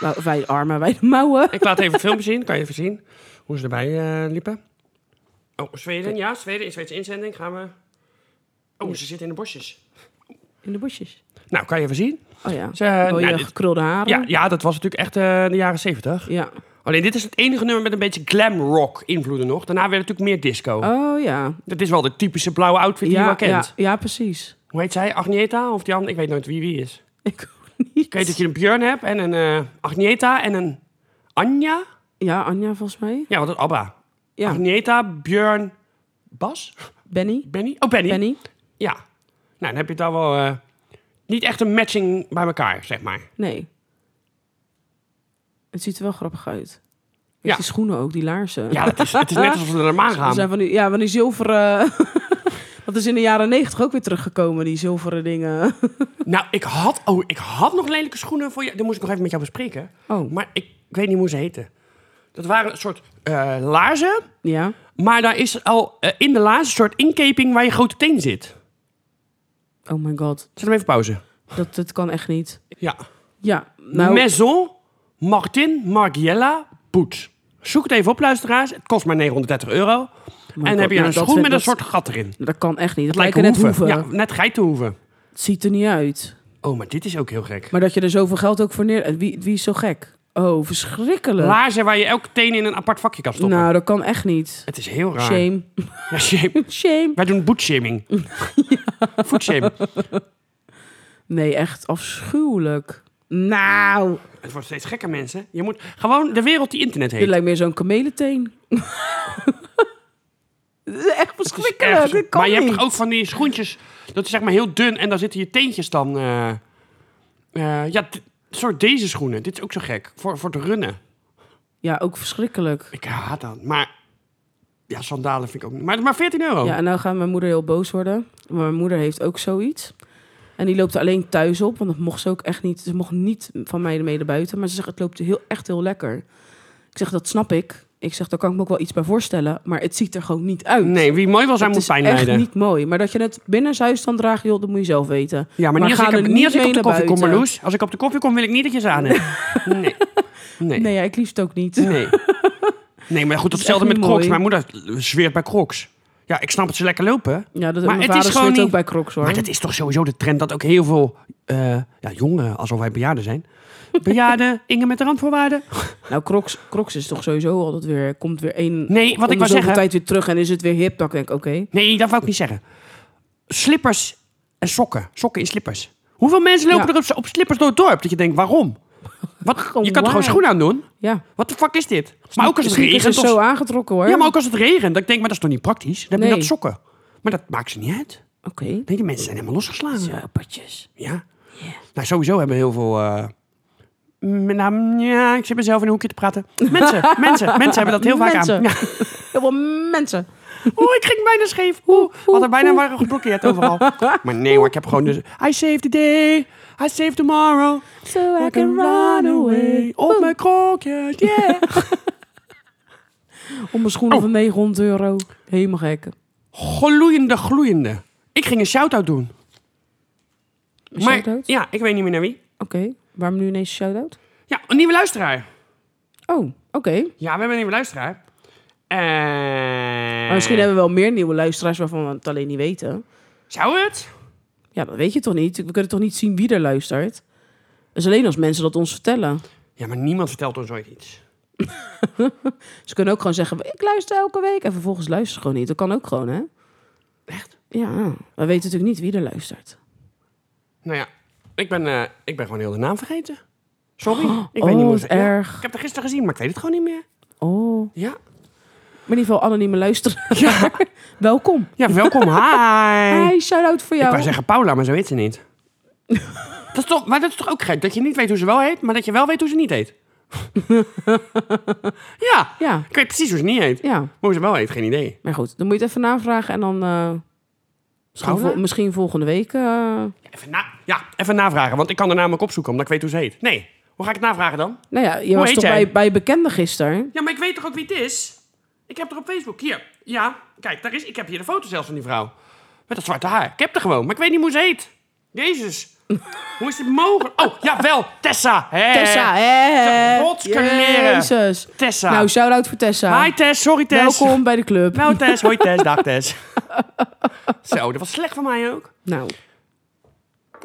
Speaker 1: Nou, wijde armen, [LAUGHS] wijde mouwen.
Speaker 2: Ik laat even het filmpje zien, kan je even zien hoe ze erbij eh, liepen. Oh, Zweden, ja, Zweden, in Zweedse inzending gaan we... Oh, ze zitten in de bosjes.
Speaker 1: In de bosjes.
Speaker 2: Nou, kan je even zien?
Speaker 1: Oh ja,
Speaker 2: Ze- nou,
Speaker 1: mooie
Speaker 2: dit-
Speaker 1: gekrulde haren.
Speaker 2: Ja, ja, dat was natuurlijk echt eh, de jaren zeventig.
Speaker 1: ja.
Speaker 2: Alleen dit is het enige nummer met een beetje glam rock invloeden nog. Daarna werd het natuurlijk meer disco.
Speaker 1: Oh ja.
Speaker 2: Dat is wel de typische blauwe outfit die je
Speaker 1: Ja,
Speaker 2: wel
Speaker 1: ja,
Speaker 2: kent.
Speaker 1: ja, precies. [LAUGHS]
Speaker 2: Hoe heet zij? Agneta of Jan? Ik weet nooit wie wie is.
Speaker 1: Ik ook niet.
Speaker 2: Ik weet dat je een Björn hebt en een eh, Agneta en een Anja.
Speaker 1: Ja, Anja volgens mij.
Speaker 2: Ja, wat een Abba.
Speaker 1: Ja,
Speaker 2: Agneta, Björn, Bas?
Speaker 1: Benny.
Speaker 2: Benny? Oh, Benny.
Speaker 1: Benny.
Speaker 2: Ja. Nou, dan heb je daar wel eh, niet echt een matching bij elkaar, zeg maar.
Speaker 1: Nee. Het ziet er wel grappig uit.
Speaker 2: Ja.
Speaker 1: Ja. Die schoenen ook, die laarzen.
Speaker 2: Ja, het is, het is net alsof [LAUGHS] we er maar
Speaker 1: Er zijn
Speaker 2: gaan.
Speaker 1: van die, ja, van die zilveren... [LAUGHS] Dat is in de jaren negentig ook weer teruggekomen, die zilveren dingen.
Speaker 2: Nou, ik had, oh, ik had nog lelijke schoenen voor je. Die moest ik nog even met jou bespreken.
Speaker 1: Oh.
Speaker 2: Maar ik, ik weet niet hoe ze heten. Dat waren een soort eh, laarzen.
Speaker 1: Ja.
Speaker 2: Maar daar is al eh, in de laatste soort inkeping waar je grote teen zit.
Speaker 1: Oh my god,
Speaker 2: Zet hem even pauze.
Speaker 1: dat, dat kan echt niet.
Speaker 2: Ja.
Speaker 1: Ja, nou...
Speaker 2: Maison Martin Margiela Boet. Zoek het even op, luisteraars. Het kost maar 930 euro. en dan
Speaker 1: God,
Speaker 2: heb je
Speaker 1: nou,
Speaker 2: een
Speaker 1: dat
Speaker 2: schoen
Speaker 1: vind-
Speaker 2: met een
Speaker 1: dat-
Speaker 2: soort gat erin. Het
Speaker 1: Dat kan echt niet. Het lijken net hoeven.
Speaker 2: Ja, net geitenhoeven.
Speaker 1: Het ziet er niet uit.
Speaker 2: Oh, maar dit is ook heel gek.
Speaker 1: Maar dat je er zoveel geld ook voor neer... Wie, wie is zo gek? Oh, verschrikkelijk.
Speaker 2: Laarzen waar je elke teen in een apart vakje kan stoppen.
Speaker 1: Nou, dat kan echt niet.
Speaker 2: Het is heel raar.
Speaker 1: Shame.
Speaker 2: Ja, shame.
Speaker 1: Shame.
Speaker 2: Wij
Speaker 1: [LAUGHS]
Speaker 2: doen boetshaming. Voetshame.
Speaker 1: Nee, echt afschuwelijk. Nou,
Speaker 2: Het wordt steeds gekker, mensen. Je moet gewoon de wereld die internet
Speaker 1: dit
Speaker 2: heet.
Speaker 1: lijkt meer zo'n kamelenteen. [LAUGHS] Dit is echt
Speaker 2: Het is
Speaker 1: verschrikkelijk.
Speaker 2: ergens-
Speaker 1: Dit kan
Speaker 2: maar je
Speaker 1: niet.
Speaker 2: hebt toch ook van die schoentjes, dat is zeg maar heel dun en daar zitten je teentjes dan. eh, eh, ja, dit- soort deze schoenen. Dit is ook zo gek. Voor, voor het runnen.
Speaker 1: Ja, ook verschrikkelijk.
Speaker 2: Ik haat dat. Maar ja, sandalen vind ik ook niet. Maar het is maar 14 euro.
Speaker 1: Ja, en nou gaat mijn moeder heel boos worden. Maar mijn moeder heeft ook zoiets. En die loopt er alleen thuis op, want dat mocht ze ook echt niet. Ze mocht niet van mij ermee naar buiten. Maar ze zegt, het loopt heel, echt heel lekker. Ik zeg, dat snap ik. Ik zeg, daar kan ik me ook wel iets bij voorstellen. Maar het ziet er gewoon niet uit.
Speaker 2: Nee, wie mooi wil zijn
Speaker 1: het
Speaker 2: Mm, moet
Speaker 1: is
Speaker 2: pijn
Speaker 1: echt
Speaker 2: lijden.
Speaker 1: niet mooi. Maar dat je het binnenshuis dan draagt, joh, dat moet je zelf weten.
Speaker 2: Ja, maar, niet als
Speaker 1: ga
Speaker 2: ik,
Speaker 1: er
Speaker 2: op- niet als ik op
Speaker 1: mee
Speaker 2: de
Speaker 1: naar
Speaker 2: koffie kom,
Speaker 1: buiten.
Speaker 2: Marloes. Als ik op de koffie kom, wil ik niet dat je ze
Speaker 1: [LAUGHS]
Speaker 2: aan hebt. Nee. Nee. Nee.
Speaker 1: Nee, ja, ik liefst ook niet.
Speaker 2: Nee. maar goed, hetzelfde
Speaker 1: echt
Speaker 2: met
Speaker 1: niet mooi.
Speaker 2: crocs. Mijn moeder zweert bij crocs. Ja, ik snap dat ze lekker lopen.
Speaker 1: Ja, dat,
Speaker 2: Maar
Speaker 1: mijn
Speaker 2: het
Speaker 1: vader
Speaker 2: is gewoon
Speaker 1: zit ook
Speaker 2: niet-
Speaker 1: bij Crocs hoor.
Speaker 2: Maar dat is toch sowieso de trend dat ook heel veel eh, ja, jongeren, alsof wij bejaarden
Speaker 1: [LAUGHS]
Speaker 2: zijn. Bejaarden, Inge met de randvoorwaarden.
Speaker 1: Nou, Crocs, Crocs is toch sowieso altijd weer... Komt weer één...
Speaker 2: Nee, wat
Speaker 1: om
Speaker 2: ik
Speaker 1: de
Speaker 2: wou
Speaker 1: zoveel
Speaker 2: zeggen.
Speaker 1: tijd weer terug en is het weer hip. Dan denk ik, oké.
Speaker 2: Nee, dat wou ik niet zeggen. Slippers en sokken. Sokken in slippers. Hoeveel mensen lopen
Speaker 1: Ja.
Speaker 2: er op, op slippers door het dorp? Dat je denkt,
Speaker 1: [LAUGHS]
Speaker 2: waarom? Wat, je kan
Speaker 1: Gewoon
Speaker 2: toch gewoon
Speaker 1: waar.
Speaker 2: schoenen aan doen?
Speaker 1: Ja.
Speaker 2: Wat de fuck is dit? Maar ook als het
Speaker 1: Sneakers
Speaker 2: regent.
Speaker 1: is
Speaker 2: Of,
Speaker 1: zo aangetrokken hoor.
Speaker 2: ja, maar ook als het regent. Dat ik denk, maar dat is toch niet praktisch? Dan heb je
Speaker 1: Nee.
Speaker 2: dat sokken. Maar dat maakt ze niet uit.
Speaker 1: Oké.
Speaker 2: Nee, die mensen zijn helemaal losgeslagen.
Speaker 1: Zo, patjes.
Speaker 2: Ja. Nou, sowieso hebben heel veel. eh, m- nou, ja, ik zit mezelf in een hoekje te praten. Mensen, [LAUGHS] mensen, mensen hebben dat heel vaak
Speaker 1: Mensen.
Speaker 2: aan. Ja.
Speaker 1: Heel veel mensen.
Speaker 2: Oeh, ik ging bijna scheef. Oeh, wat er bijna waren geblokkeerd overal. Maar nee hoor, ik heb gewoon dus... I save the day, I save tomorrow.
Speaker 1: So
Speaker 2: I can run away. Op mijn krokjes, yeah.
Speaker 1: [LAUGHS] Om mijn schoenen
Speaker 2: Oh.
Speaker 1: van 900 euro. Helemaal gek.
Speaker 2: Gloeiende, gloeiende. Ik ging een shout-out doen.
Speaker 1: Een
Speaker 2: Maar,
Speaker 1: shout-out?
Speaker 2: Ja, ik weet niet meer naar wie.
Speaker 1: Oké. Waarom nu ineens een shout-out?
Speaker 2: Ja, een nieuwe luisteraar.
Speaker 1: Oh, oké.
Speaker 2: Ja, we hebben een nieuwe luisteraar. En...
Speaker 1: Maar Oh, misschien hebben we wel meer nieuwe luisteraars waarvan we het alleen niet weten.
Speaker 2: Zou het?
Speaker 1: Ja, dat weet je toch niet? We kunnen toch niet zien wie er luistert? Dat is alleen als mensen dat ons vertellen.
Speaker 2: Ja, maar niemand vertelt ons ooit iets.
Speaker 1: Ze kunnen ook gewoon zeggen, ik luister elke week. En vervolgens luisteren ze gewoon niet. Dat kan ook gewoon, hè?
Speaker 2: Echt?
Speaker 1: Ja, we weten natuurlijk niet wie er luistert.
Speaker 2: Nou ja, ik ben, eh, ik ben gewoon heel de naam vergeten. Sorry, ik
Speaker 1: oh,
Speaker 2: weet niet hoe
Speaker 1: wat
Speaker 2: ze- Ja,
Speaker 1: erg.
Speaker 2: ik heb het gisteren gezien, maar ik weet het gewoon niet meer.
Speaker 1: Oh.
Speaker 2: Ja,
Speaker 1: Maar in ieder geval anonieme luisteraar. [LAUGHS] Welkom.
Speaker 2: ja
Speaker 1: [LAUGHS]
Speaker 2: welkom, hi.
Speaker 1: Hi, shout-out voor
Speaker 2: Ik
Speaker 1: jou.
Speaker 2: wou zeggen Paula, maar zo heet ze
Speaker 1: [LAUGHS]
Speaker 2: niet. dat is toch, maar dat is toch ook gek, dat je niet weet hoe ze wel heet, maar dat je wel weet hoe ze niet
Speaker 1: [LAUGHS]
Speaker 2: heet. ja,
Speaker 1: Ja,
Speaker 2: ik weet precies hoe ze niet heet. Maar
Speaker 1: ja.
Speaker 2: hoe ze wel heet, geen idee.
Speaker 1: Maar goed, dan moet je het even navragen en dan... eh, misschien,
Speaker 2: Paula?
Speaker 1: vol- misschien volgende week... eh,
Speaker 2: Ja, even, na, ja, even navragen, want ik kan haar namelijk opzoeken omdat ik weet hoe ze heet. Nee, hoe ga ik het navragen dan?
Speaker 1: Nou ja, je
Speaker 2: Hoe
Speaker 1: was
Speaker 2: heet
Speaker 1: toch
Speaker 2: jij?
Speaker 1: bij, bij bekende gisteren?
Speaker 2: Ja, maar ik weet toch ook wie het is? Ik heb er op Facebook. Hier. Ja, kijk, daar is, ik heb hier de foto zelfs van die vrouw. Met dat zwarte haar. Ik heb er gewoon, maar ik weet niet hoe ze heet.
Speaker 1: [LAUGHS]
Speaker 2: Jezus. hoe is dit mogelijk? Oh, jawel. Tessa. Hè.
Speaker 1: Tessa, hè?
Speaker 2: Ze rotskaleren.
Speaker 1: Jezus.
Speaker 2: Tessa.
Speaker 1: Nou, shout-out voor Tessa.
Speaker 2: Hi Tess, sorry Tess.
Speaker 1: Welkom bij de club. Nou.
Speaker 2: Nou Tess, hoi Tess,
Speaker 1: [LAUGHS]
Speaker 2: dag Tess. Zo, dat was slecht van mij ook.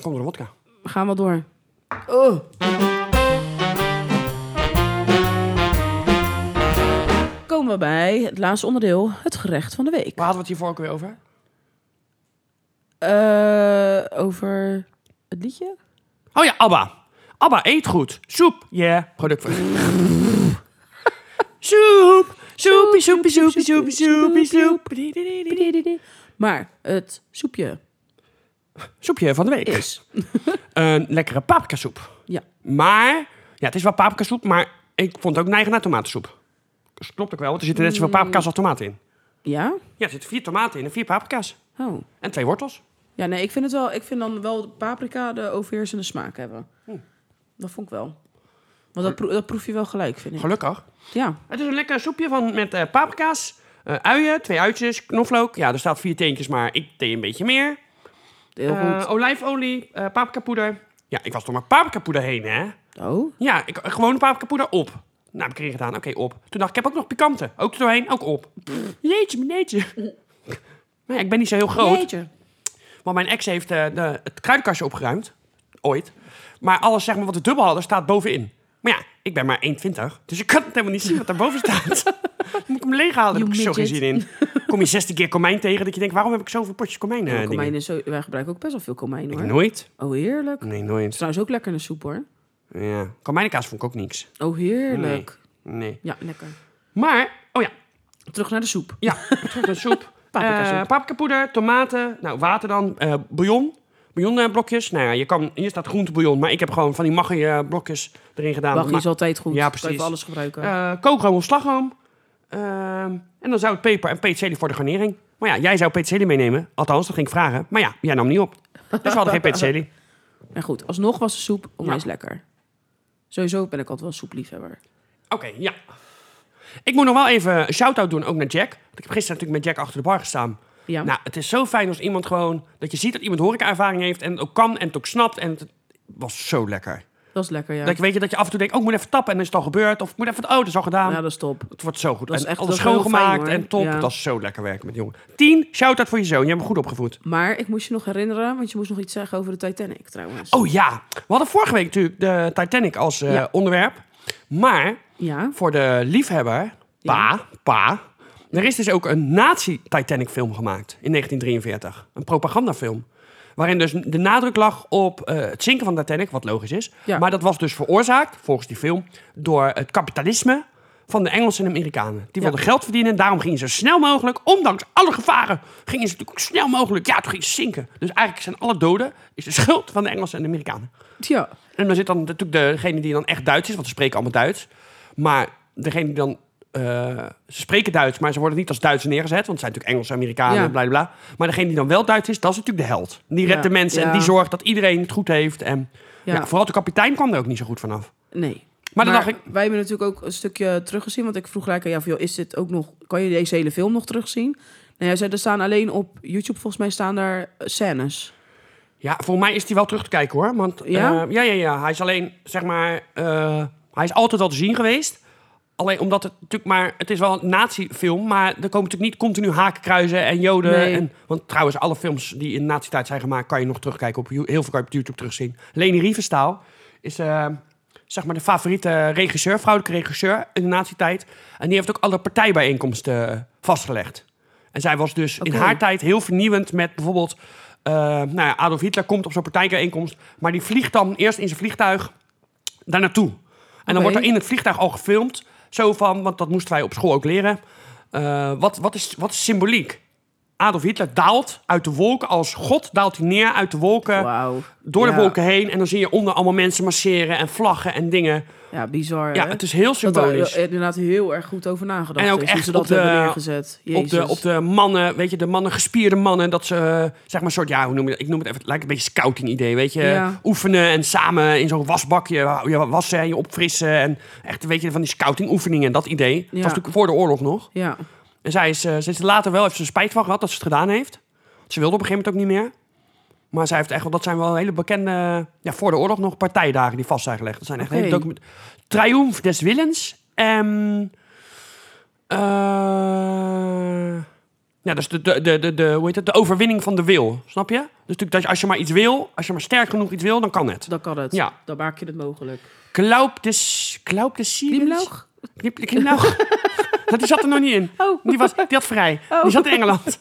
Speaker 2: Komt er wodka.
Speaker 1: Nou, we gaan wel door. Komen we bij het laatste onderdeel, het gerecht van de week.
Speaker 2: Waar hadden we het hiervoor ook weer over?
Speaker 1: Eh, over het liedje?
Speaker 2: Oh ja, Abba. Abba, eet goed. Soep. Yeah. Product van... [LAUGHS] soep. Soepie, soepie, soepie, soepie, soepie, soep.
Speaker 1: Maar het soepje
Speaker 2: Soepje van de week.
Speaker 1: is...
Speaker 2: Een lekkere paprikasoep.
Speaker 1: Ja,
Speaker 2: Maar, ja, het is wel paprikasoep, maar ik vond het ook neigen naar tomatensoep. Dus klopt ook wel, want er zitten net zoveel paprika's als tomaten in.
Speaker 1: ja?
Speaker 2: Ja, er zitten vier tomaten in en vier paprika's.
Speaker 1: Oh.
Speaker 2: En twee wortels.
Speaker 1: Ja, nee, ik vind het wel. Ik vind dan wel de paprika de overheersende smaak hebben. Dat vond ik wel. Want dat, pro- dat proef je wel gelijk, vind ik.
Speaker 2: Gelukkig.
Speaker 1: Ja.
Speaker 2: Het is een lekker soepje van, met eh, paprika's, eh, uien, twee uitjes, knoflook. Ja, er staat vier teentjes, maar ik deed een beetje meer.
Speaker 1: Heel
Speaker 2: Eh, olijfolie, eh paprikapoeder. Ja, ik was toch maar paprikapoeder heen, hè?
Speaker 1: goed. Oh.
Speaker 2: Ja, ik, gewoon paprikapoeder op. Nou, heb ik erin gedaan. Oké, op. Toen dacht ik, ik heb ook nog pikante. Ook er doorheen, ook op. Pff, Jeetje, [LAUGHS] meneetje. Maar ja, ik ben niet zo heel groot.
Speaker 1: Jeetje.
Speaker 2: Want mijn ex heeft eh, de, het kruidenkastje opgeruimd. Ooit. Maar alles zeg maar, wat we dubbel hadden staat bovenin. Maar ja, ik ben maar 1,20. Dus ik kan het helemaal niet zien wat daarboven staat. Dan moet ik hem leeghalen. Daar
Speaker 1: You
Speaker 2: heb ik zo geen
Speaker 1: midget.
Speaker 2: zin in. Kom je 16 keer komijn tegen dat je denkt, waarom heb ik zoveel potjes komijn? eh,
Speaker 1: Ja, komijn
Speaker 2: dingen?
Speaker 1: is zo, wij gebruiken ook best wel veel komijn hoor.
Speaker 2: Nooit.
Speaker 1: Oh, heerlijk. Het
Speaker 2: Nee, nooit.
Speaker 1: is trouwens ook lekker in de soep hoor.
Speaker 2: Ja, komijnenkaas vond ik ook niks.
Speaker 1: Oh, heerlijk.
Speaker 2: Nee.
Speaker 1: Ja, lekker.
Speaker 2: Maar, oh ja,
Speaker 1: Terug naar de soep.
Speaker 2: ja, terug naar soep.
Speaker 1: Paprikasoep.
Speaker 2: Eh, paprikapoeder, tomaten, nou water dan, eh bouillon. Bouillonblokjes. Nou ja, je kan, hier staat groentebouillon, maar ik heb gewoon van die maggi blokjes erin gedaan.
Speaker 1: Baggie is
Speaker 2: Maar-
Speaker 1: altijd goed.
Speaker 2: Ja,
Speaker 1: Kan je
Speaker 2: precies.
Speaker 1: voor alles gebruiken.
Speaker 2: eh kookroom of slagroom. Ehm, en dan zout, peper en peterselie voor de garnering. Maar ja, jij zou peterselie meenemen. Althans, dat ging ik vragen. Maar ja, jij nam niet op. Dus we hadden geen peterselie.
Speaker 1: En goed, alsnog was de soep onwijs
Speaker 2: Ja.
Speaker 1: lekker. Sowieso ben ik altijd wel een soepliefhebber.
Speaker 2: Oké, ja. Ik moet nog wel even een shout-out doen, ook naar Jack. Want ik heb gisteren natuurlijk met Jack achter de bar gestaan.
Speaker 1: Ja.
Speaker 2: Nou, het is zo fijn als iemand gewoon... dat je ziet dat iemand horeca-ervaring heeft en het ook kan en het ook snapt. En het was zo lekker.
Speaker 1: dat is lekker, ja.
Speaker 2: Dat je weet je, dat je af en toe denkt, oh, ik moet even tappen en dan is het al gebeurd. Of ik moet even, oh, dat is al gedaan.
Speaker 1: Ja, dat is top.
Speaker 2: Het wordt zo goed.
Speaker 1: Dat is
Speaker 2: en
Speaker 1: echt-
Speaker 2: alles
Speaker 1: dat is heel
Speaker 2: schoongemaakt
Speaker 1: fijn, hoor.
Speaker 2: en top.
Speaker 1: Ja.
Speaker 2: Dat is zo lekker werken met die jongen. Tien, shout-out voor je zoon. Je hebt hem goed opgevoed.
Speaker 1: Maar ik moest je nog herinneren, want je moest nog iets zeggen over de Titanic trouwens.
Speaker 2: Oh ja, we hadden vorige week natuurlijk de Titanic als eh,
Speaker 1: Ja.
Speaker 2: onderwerp. Maar
Speaker 1: Ja.
Speaker 2: voor de liefhebber, pa, pa... Er is dus ook een nazi-Titanic-film gemaakt in 1943. Een propagandafilm. Waarin dus de nadruk lag op eh, het zinken van de Titanic, wat logisch is.
Speaker 1: Ja.
Speaker 2: Maar dat was dus veroorzaakt, volgens die film, door het kapitalisme van de Engelsen en Amerikanen.
Speaker 1: Ja.
Speaker 2: Die wilden geld verdienen, daarom gingen ze zo snel mogelijk, ondanks alle gevaren, gingen ze natuurlijk ook snel mogelijk, ja, toen gingen ze zinken. Dus eigenlijk zijn alle doden, is de schuld van de Engelsen en de Amerikanen.
Speaker 1: Ja.
Speaker 2: En dan zit dan natuurlijk degene die dan echt Duits is, want ze spreken allemaal Duits. Maar degene die dan. eh, ze spreken Duits, maar ze worden niet als Duits neergezet. Want ze zijn natuurlijk Engels, Amerikanen,
Speaker 1: Ja.
Speaker 2: bla bla bla. Maar degene die dan wel Duits is, dat is natuurlijk de held. Die redt
Speaker 1: Ja,
Speaker 2: de mensen
Speaker 1: ja.
Speaker 2: en die zorgt dat iedereen het goed heeft. En
Speaker 1: Ja.
Speaker 2: ja. vooral de kapitein kwam er ook niet zo goed vanaf.
Speaker 1: Nee.
Speaker 2: Maar dan dacht
Speaker 1: Wij hebben natuurlijk ook een stukje teruggezien, want ik vroeg gelijk aan jou van, joh, is dit ook nog, kan je deze hele film nog terugzien? Nou, jij zei, er staan alleen op YouTube, volgens mij staan daar eh, scènes.
Speaker 2: Ja, voor mij is die wel terug te kijken hoor. Want eh,
Speaker 1: Ja?
Speaker 2: ja, ja, ja. Hij is alleen, zeg maar. eh, hij is altijd al te zien geweest. Alleen omdat het natuurlijk maar... Het is wel een nazi-film, maar er komen natuurlijk niet continu hakenkruizen en joden.
Speaker 1: Nee.
Speaker 2: En, want trouwens, alle films die in nazi-tijd zijn gemaakt... kan je nog terugkijken op... You- Heel veel kan je op YouTube terugzien. Leni Riefenstahl is... eh, Zeg maar de favoriete regisseur, vrouwelijke regisseur in de nazi-tijd. En die heeft ook alle partijbijeenkomsten eh, vastgelegd. En zij was dus in
Speaker 1: Oké.
Speaker 2: haar tijd heel vernieuwend met bijvoorbeeld... eh, nou ja, Adolf Hitler komt op zo'n partijbijeenkomst... maar die vliegt dan eerst in zijn vliegtuig daar naartoe. En dan
Speaker 1: Oké.
Speaker 2: wordt er in het vliegtuig al gefilmd. Zo van, want dat moesten wij op school ook leren. eh, wat, wat, is, wat is symboliek? Adolf Hitler daalt uit de wolken als god, daalt hij neer uit de wolken,
Speaker 1: Wauw.
Speaker 2: door de
Speaker 1: Ja.
Speaker 2: wolken heen. En dan zie je onder allemaal mensen marcheren en vlaggen en dingen.
Speaker 1: Ja, bizar.
Speaker 2: Ja,
Speaker 1: hè?
Speaker 2: het is heel
Speaker 1: Dat eh, er
Speaker 2: symbolisch.
Speaker 1: inderdaad heel erg goed over nagedacht
Speaker 2: En ook
Speaker 1: is.
Speaker 2: echt
Speaker 1: hoe ze
Speaker 2: op
Speaker 1: dat
Speaker 2: de-
Speaker 1: hebben neergezet. Jezus.
Speaker 2: op de, op de mannen, weet je, de mannen, gespierde mannen, dat ze, eh, zeg maar, een soort, ja, hoe noem je dat? Ik noem het even, het lijkt een beetje scouting idee, weet je.
Speaker 1: Ja.
Speaker 2: Oefenen en samen in zo'n wasbakje je wassen en je opfrissen en echt, weet je, van die scouting oefeningen en dat idee. Dat was natuurlijk voor de oorlog nog.
Speaker 1: Ja.
Speaker 2: En zij is, eh, ze is er later wel, heeft ze er spijt van gehad dat ze het gedaan heeft. Ze wilde op een gegeven moment ook niet meer. Maar zij heeft echt, wel- dat zijn wel hele bekende, ja, voor de oorlog nog partijdagen die vast zijn gelegd. Dat zijn echt
Speaker 1: Oké.
Speaker 2: hele document. Triomf des Willens. En. eh, ja, dus de, de, de, de, de, hoe heet het? de overwinning van de wil. Snap je? Dus natuurlijk, dat je, als je maar iets wil, als je maar sterk genoeg iets wil, dan kan het.
Speaker 1: Dan kan het.
Speaker 2: Ja.
Speaker 1: Dan maak je het mogelijk.
Speaker 2: Klaup des. Klaup des Zielens.
Speaker 1: Glimlach?
Speaker 2: Knip- Klimlaug. [LAUGHS] Dat Die zat er nog niet in.
Speaker 1: Oh.
Speaker 2: Die, was, die had vrij.
Speaker 1: Oh.
Speaker 2: Die zat in Engeland.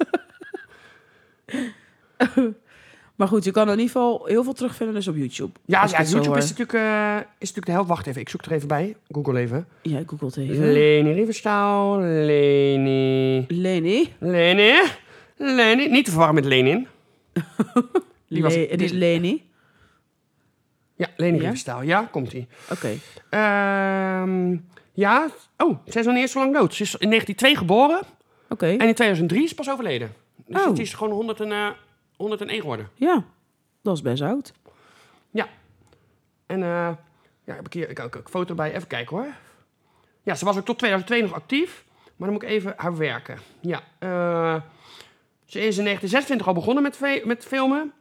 Speaker 1: Maar goed, je kan in ieder geval heel veel terugvinden dus op YouTube.
Speaker 2: Ja,
Speaker 1: Als
Speaker 2: ja
Speaker 1: ik het zo
Speaker 2: YouTube is
Speaker 1: hoor.
Speaker 2: natuurlijk, eh, is natuurlijk de helft. Wacht even, ik zoek er even bij. Google even.
Speaker 1: Ja, googelt even.
Speaker 2: Leni Riefenstahl. Leni.
Speaker 1: Leni.
Speaker 2: Leni. Leni. Niet te verwarren met Lenin. Die was-
Speaker 1: Le- het is
Speaker 2: die-
Speaker 1: Leni.
Speaker 2: Ja, Leni
Speaker 1: Ja?
Speaker 2: Riefenstahl. Ja, komt-ie.
Speaker 1: Oké.
Speaker 2: Ehm, ja. Oh, ze is nog niet eens zo lang dood. Ze is in 1902 geboren
Speaker 1: Oké.
Speaker 2: en in 2003 is ze pas overleden. Dus
Speaker 1: Oh.
Speaker 2: het is gewoon 100 en, eh, 101 geworden.
Speaker 1: Ja. Dat is best oud.
Speaker 2: Ja. En eh, ja, heb ik hier ik, heb ook een foto bij. Even kijken hoor. Ja, ze was ook tot 2002 nog actief. Maar dan moet ik even haar werken. Ja. eh, ze is in 1926 al begonnen met, ve- met filmen.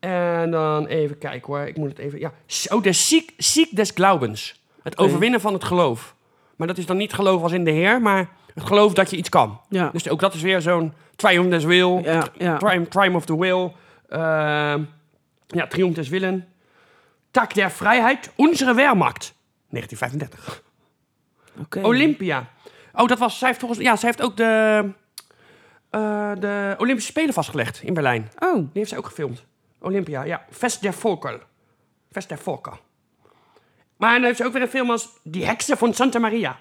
Speaker 2: En dan even kijken hoor. Ik moet het even... Ja. S- Oh, de ziek, ziek des glaubens. Het overwinnen van het geloof. Maar dat is dan niet geloof als in de Heer, maar het geloof dat je iets kan.
Speaker 1: Ja.
Speaker 2: Dus ook dat is weer zo'n triumph des will.
Speaker 1: Ja, ja.
Speaker 2: Triumph, triumph of the will. Ehm, ja, triumph des willen. Tak der vrijheid, unsere Wehrmacht. 1935.
Speaker 1: Oké.
Speaker 2: Olympia. Oh, dat was... Zij heeft volgens... Ja, zij heeft ook de... eh, de Olympische Spelen vastgelegd in Berlijn. Die
Speaker 1: Oh,
Speaker 2: heeft zij ook gefilmd. Olympia, ja. Fest der Volker. Fest der Volker. Maar dan heeft ze ook weer een film als... Die heksen van Santa Maria.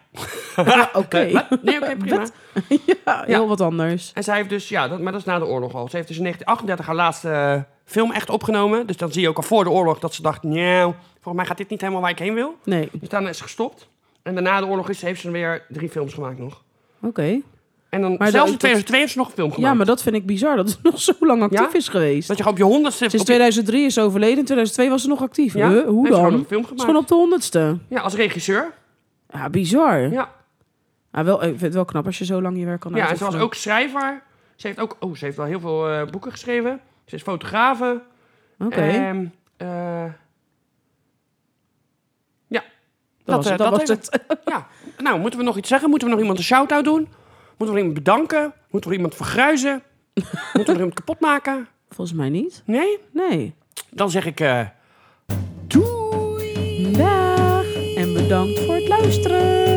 Speaker 1: oké.
Speaker 2: Eh, wat? Nee, oké, prima.
Speaker 1: [LAUGHS] ja, heel wat anders.
Speaker 2: En zij heeft dus, ja, dat, maar dat is na de oorlog al. Ze heeft dus in 1938 haar laatste eh, film echt opgenomen. Dus dan zie je ook al voor de oorlog dat ze dacht, nou, volgens mij gaat dit niet helemaal waar ik heen wil.
Speaker 1: Nee. Oké.
Speaker 2: Dus daarna is ze gestopt. En daarna de oorlog is, heeft ze weer drie films gemaakt nog. En dan,
Speaker 1: Maar
Speaker 2: zelfs
Speaker 1: dat-
Speaker 2: in 2002 heeft ze nog een film gemaakt.
Speaker 1: Ja, maar dat vind ik bizar dat het [LAUGHS] nog zo lang actief
Speaker 2: Ja?
Speaker 1: is geweest.
Speaker 2: Dat je gewoon op je honderdste...
Speaker 1: Sinds
Speaker 2: op je-
Speaker 1: 2003 is ze overleden. In 2002 was ze nog actief.
Speaker 2: Ja,
Speaker 1: Huh? Hoe
Speaker 2: heeft ze
Speaker 1: dan?
Speaker 2: gewoon nog een
Speaker 1: Het
Speaker 2: film
Speaker 1: is
Speaker 2: gemaakt.
Speaker 1: gewoon op de honderdste.
Speaker 2: Ja, als regisseur.
Speaker 1: Ja, bizar.
Speaker 2: Ja,
Speaker 1: Ah, wel, ik vind het wel knap als je zo lang je werk kan
Speaker 2: ja en ze
Speaker 1: uitoefenen.
Speaker 2: was ook schrijver. Ze heeft ook... Oh, ze heeft wel heel veel eh, boeken geschreven. Ze is fotografe.
Speaker 1: Oké,
Speaker 2: Ehm, eh, ja.
Speaker 1: dat, was
Speaker 2: eh,
Speaker 1: het. Dat was
Speaker 2: even.
Speaker 1: het.
Speaker 2: Ja, nou, moeten we nog iets zeggen? Moeten we nog iemand een shout-out doen? Moeten we nog iemand bedanken? Moeten we nog iemand vergruizen? Moeten we nog iemand kapot maken?
Speaker 1: Volgens mij niet.
Speaker 2: Nee?
Speaker 1: Nee.
Speaker 2: Dan zeg ik... eh, doei!
Speaker 1: Dag en bedankt voor het luisteren.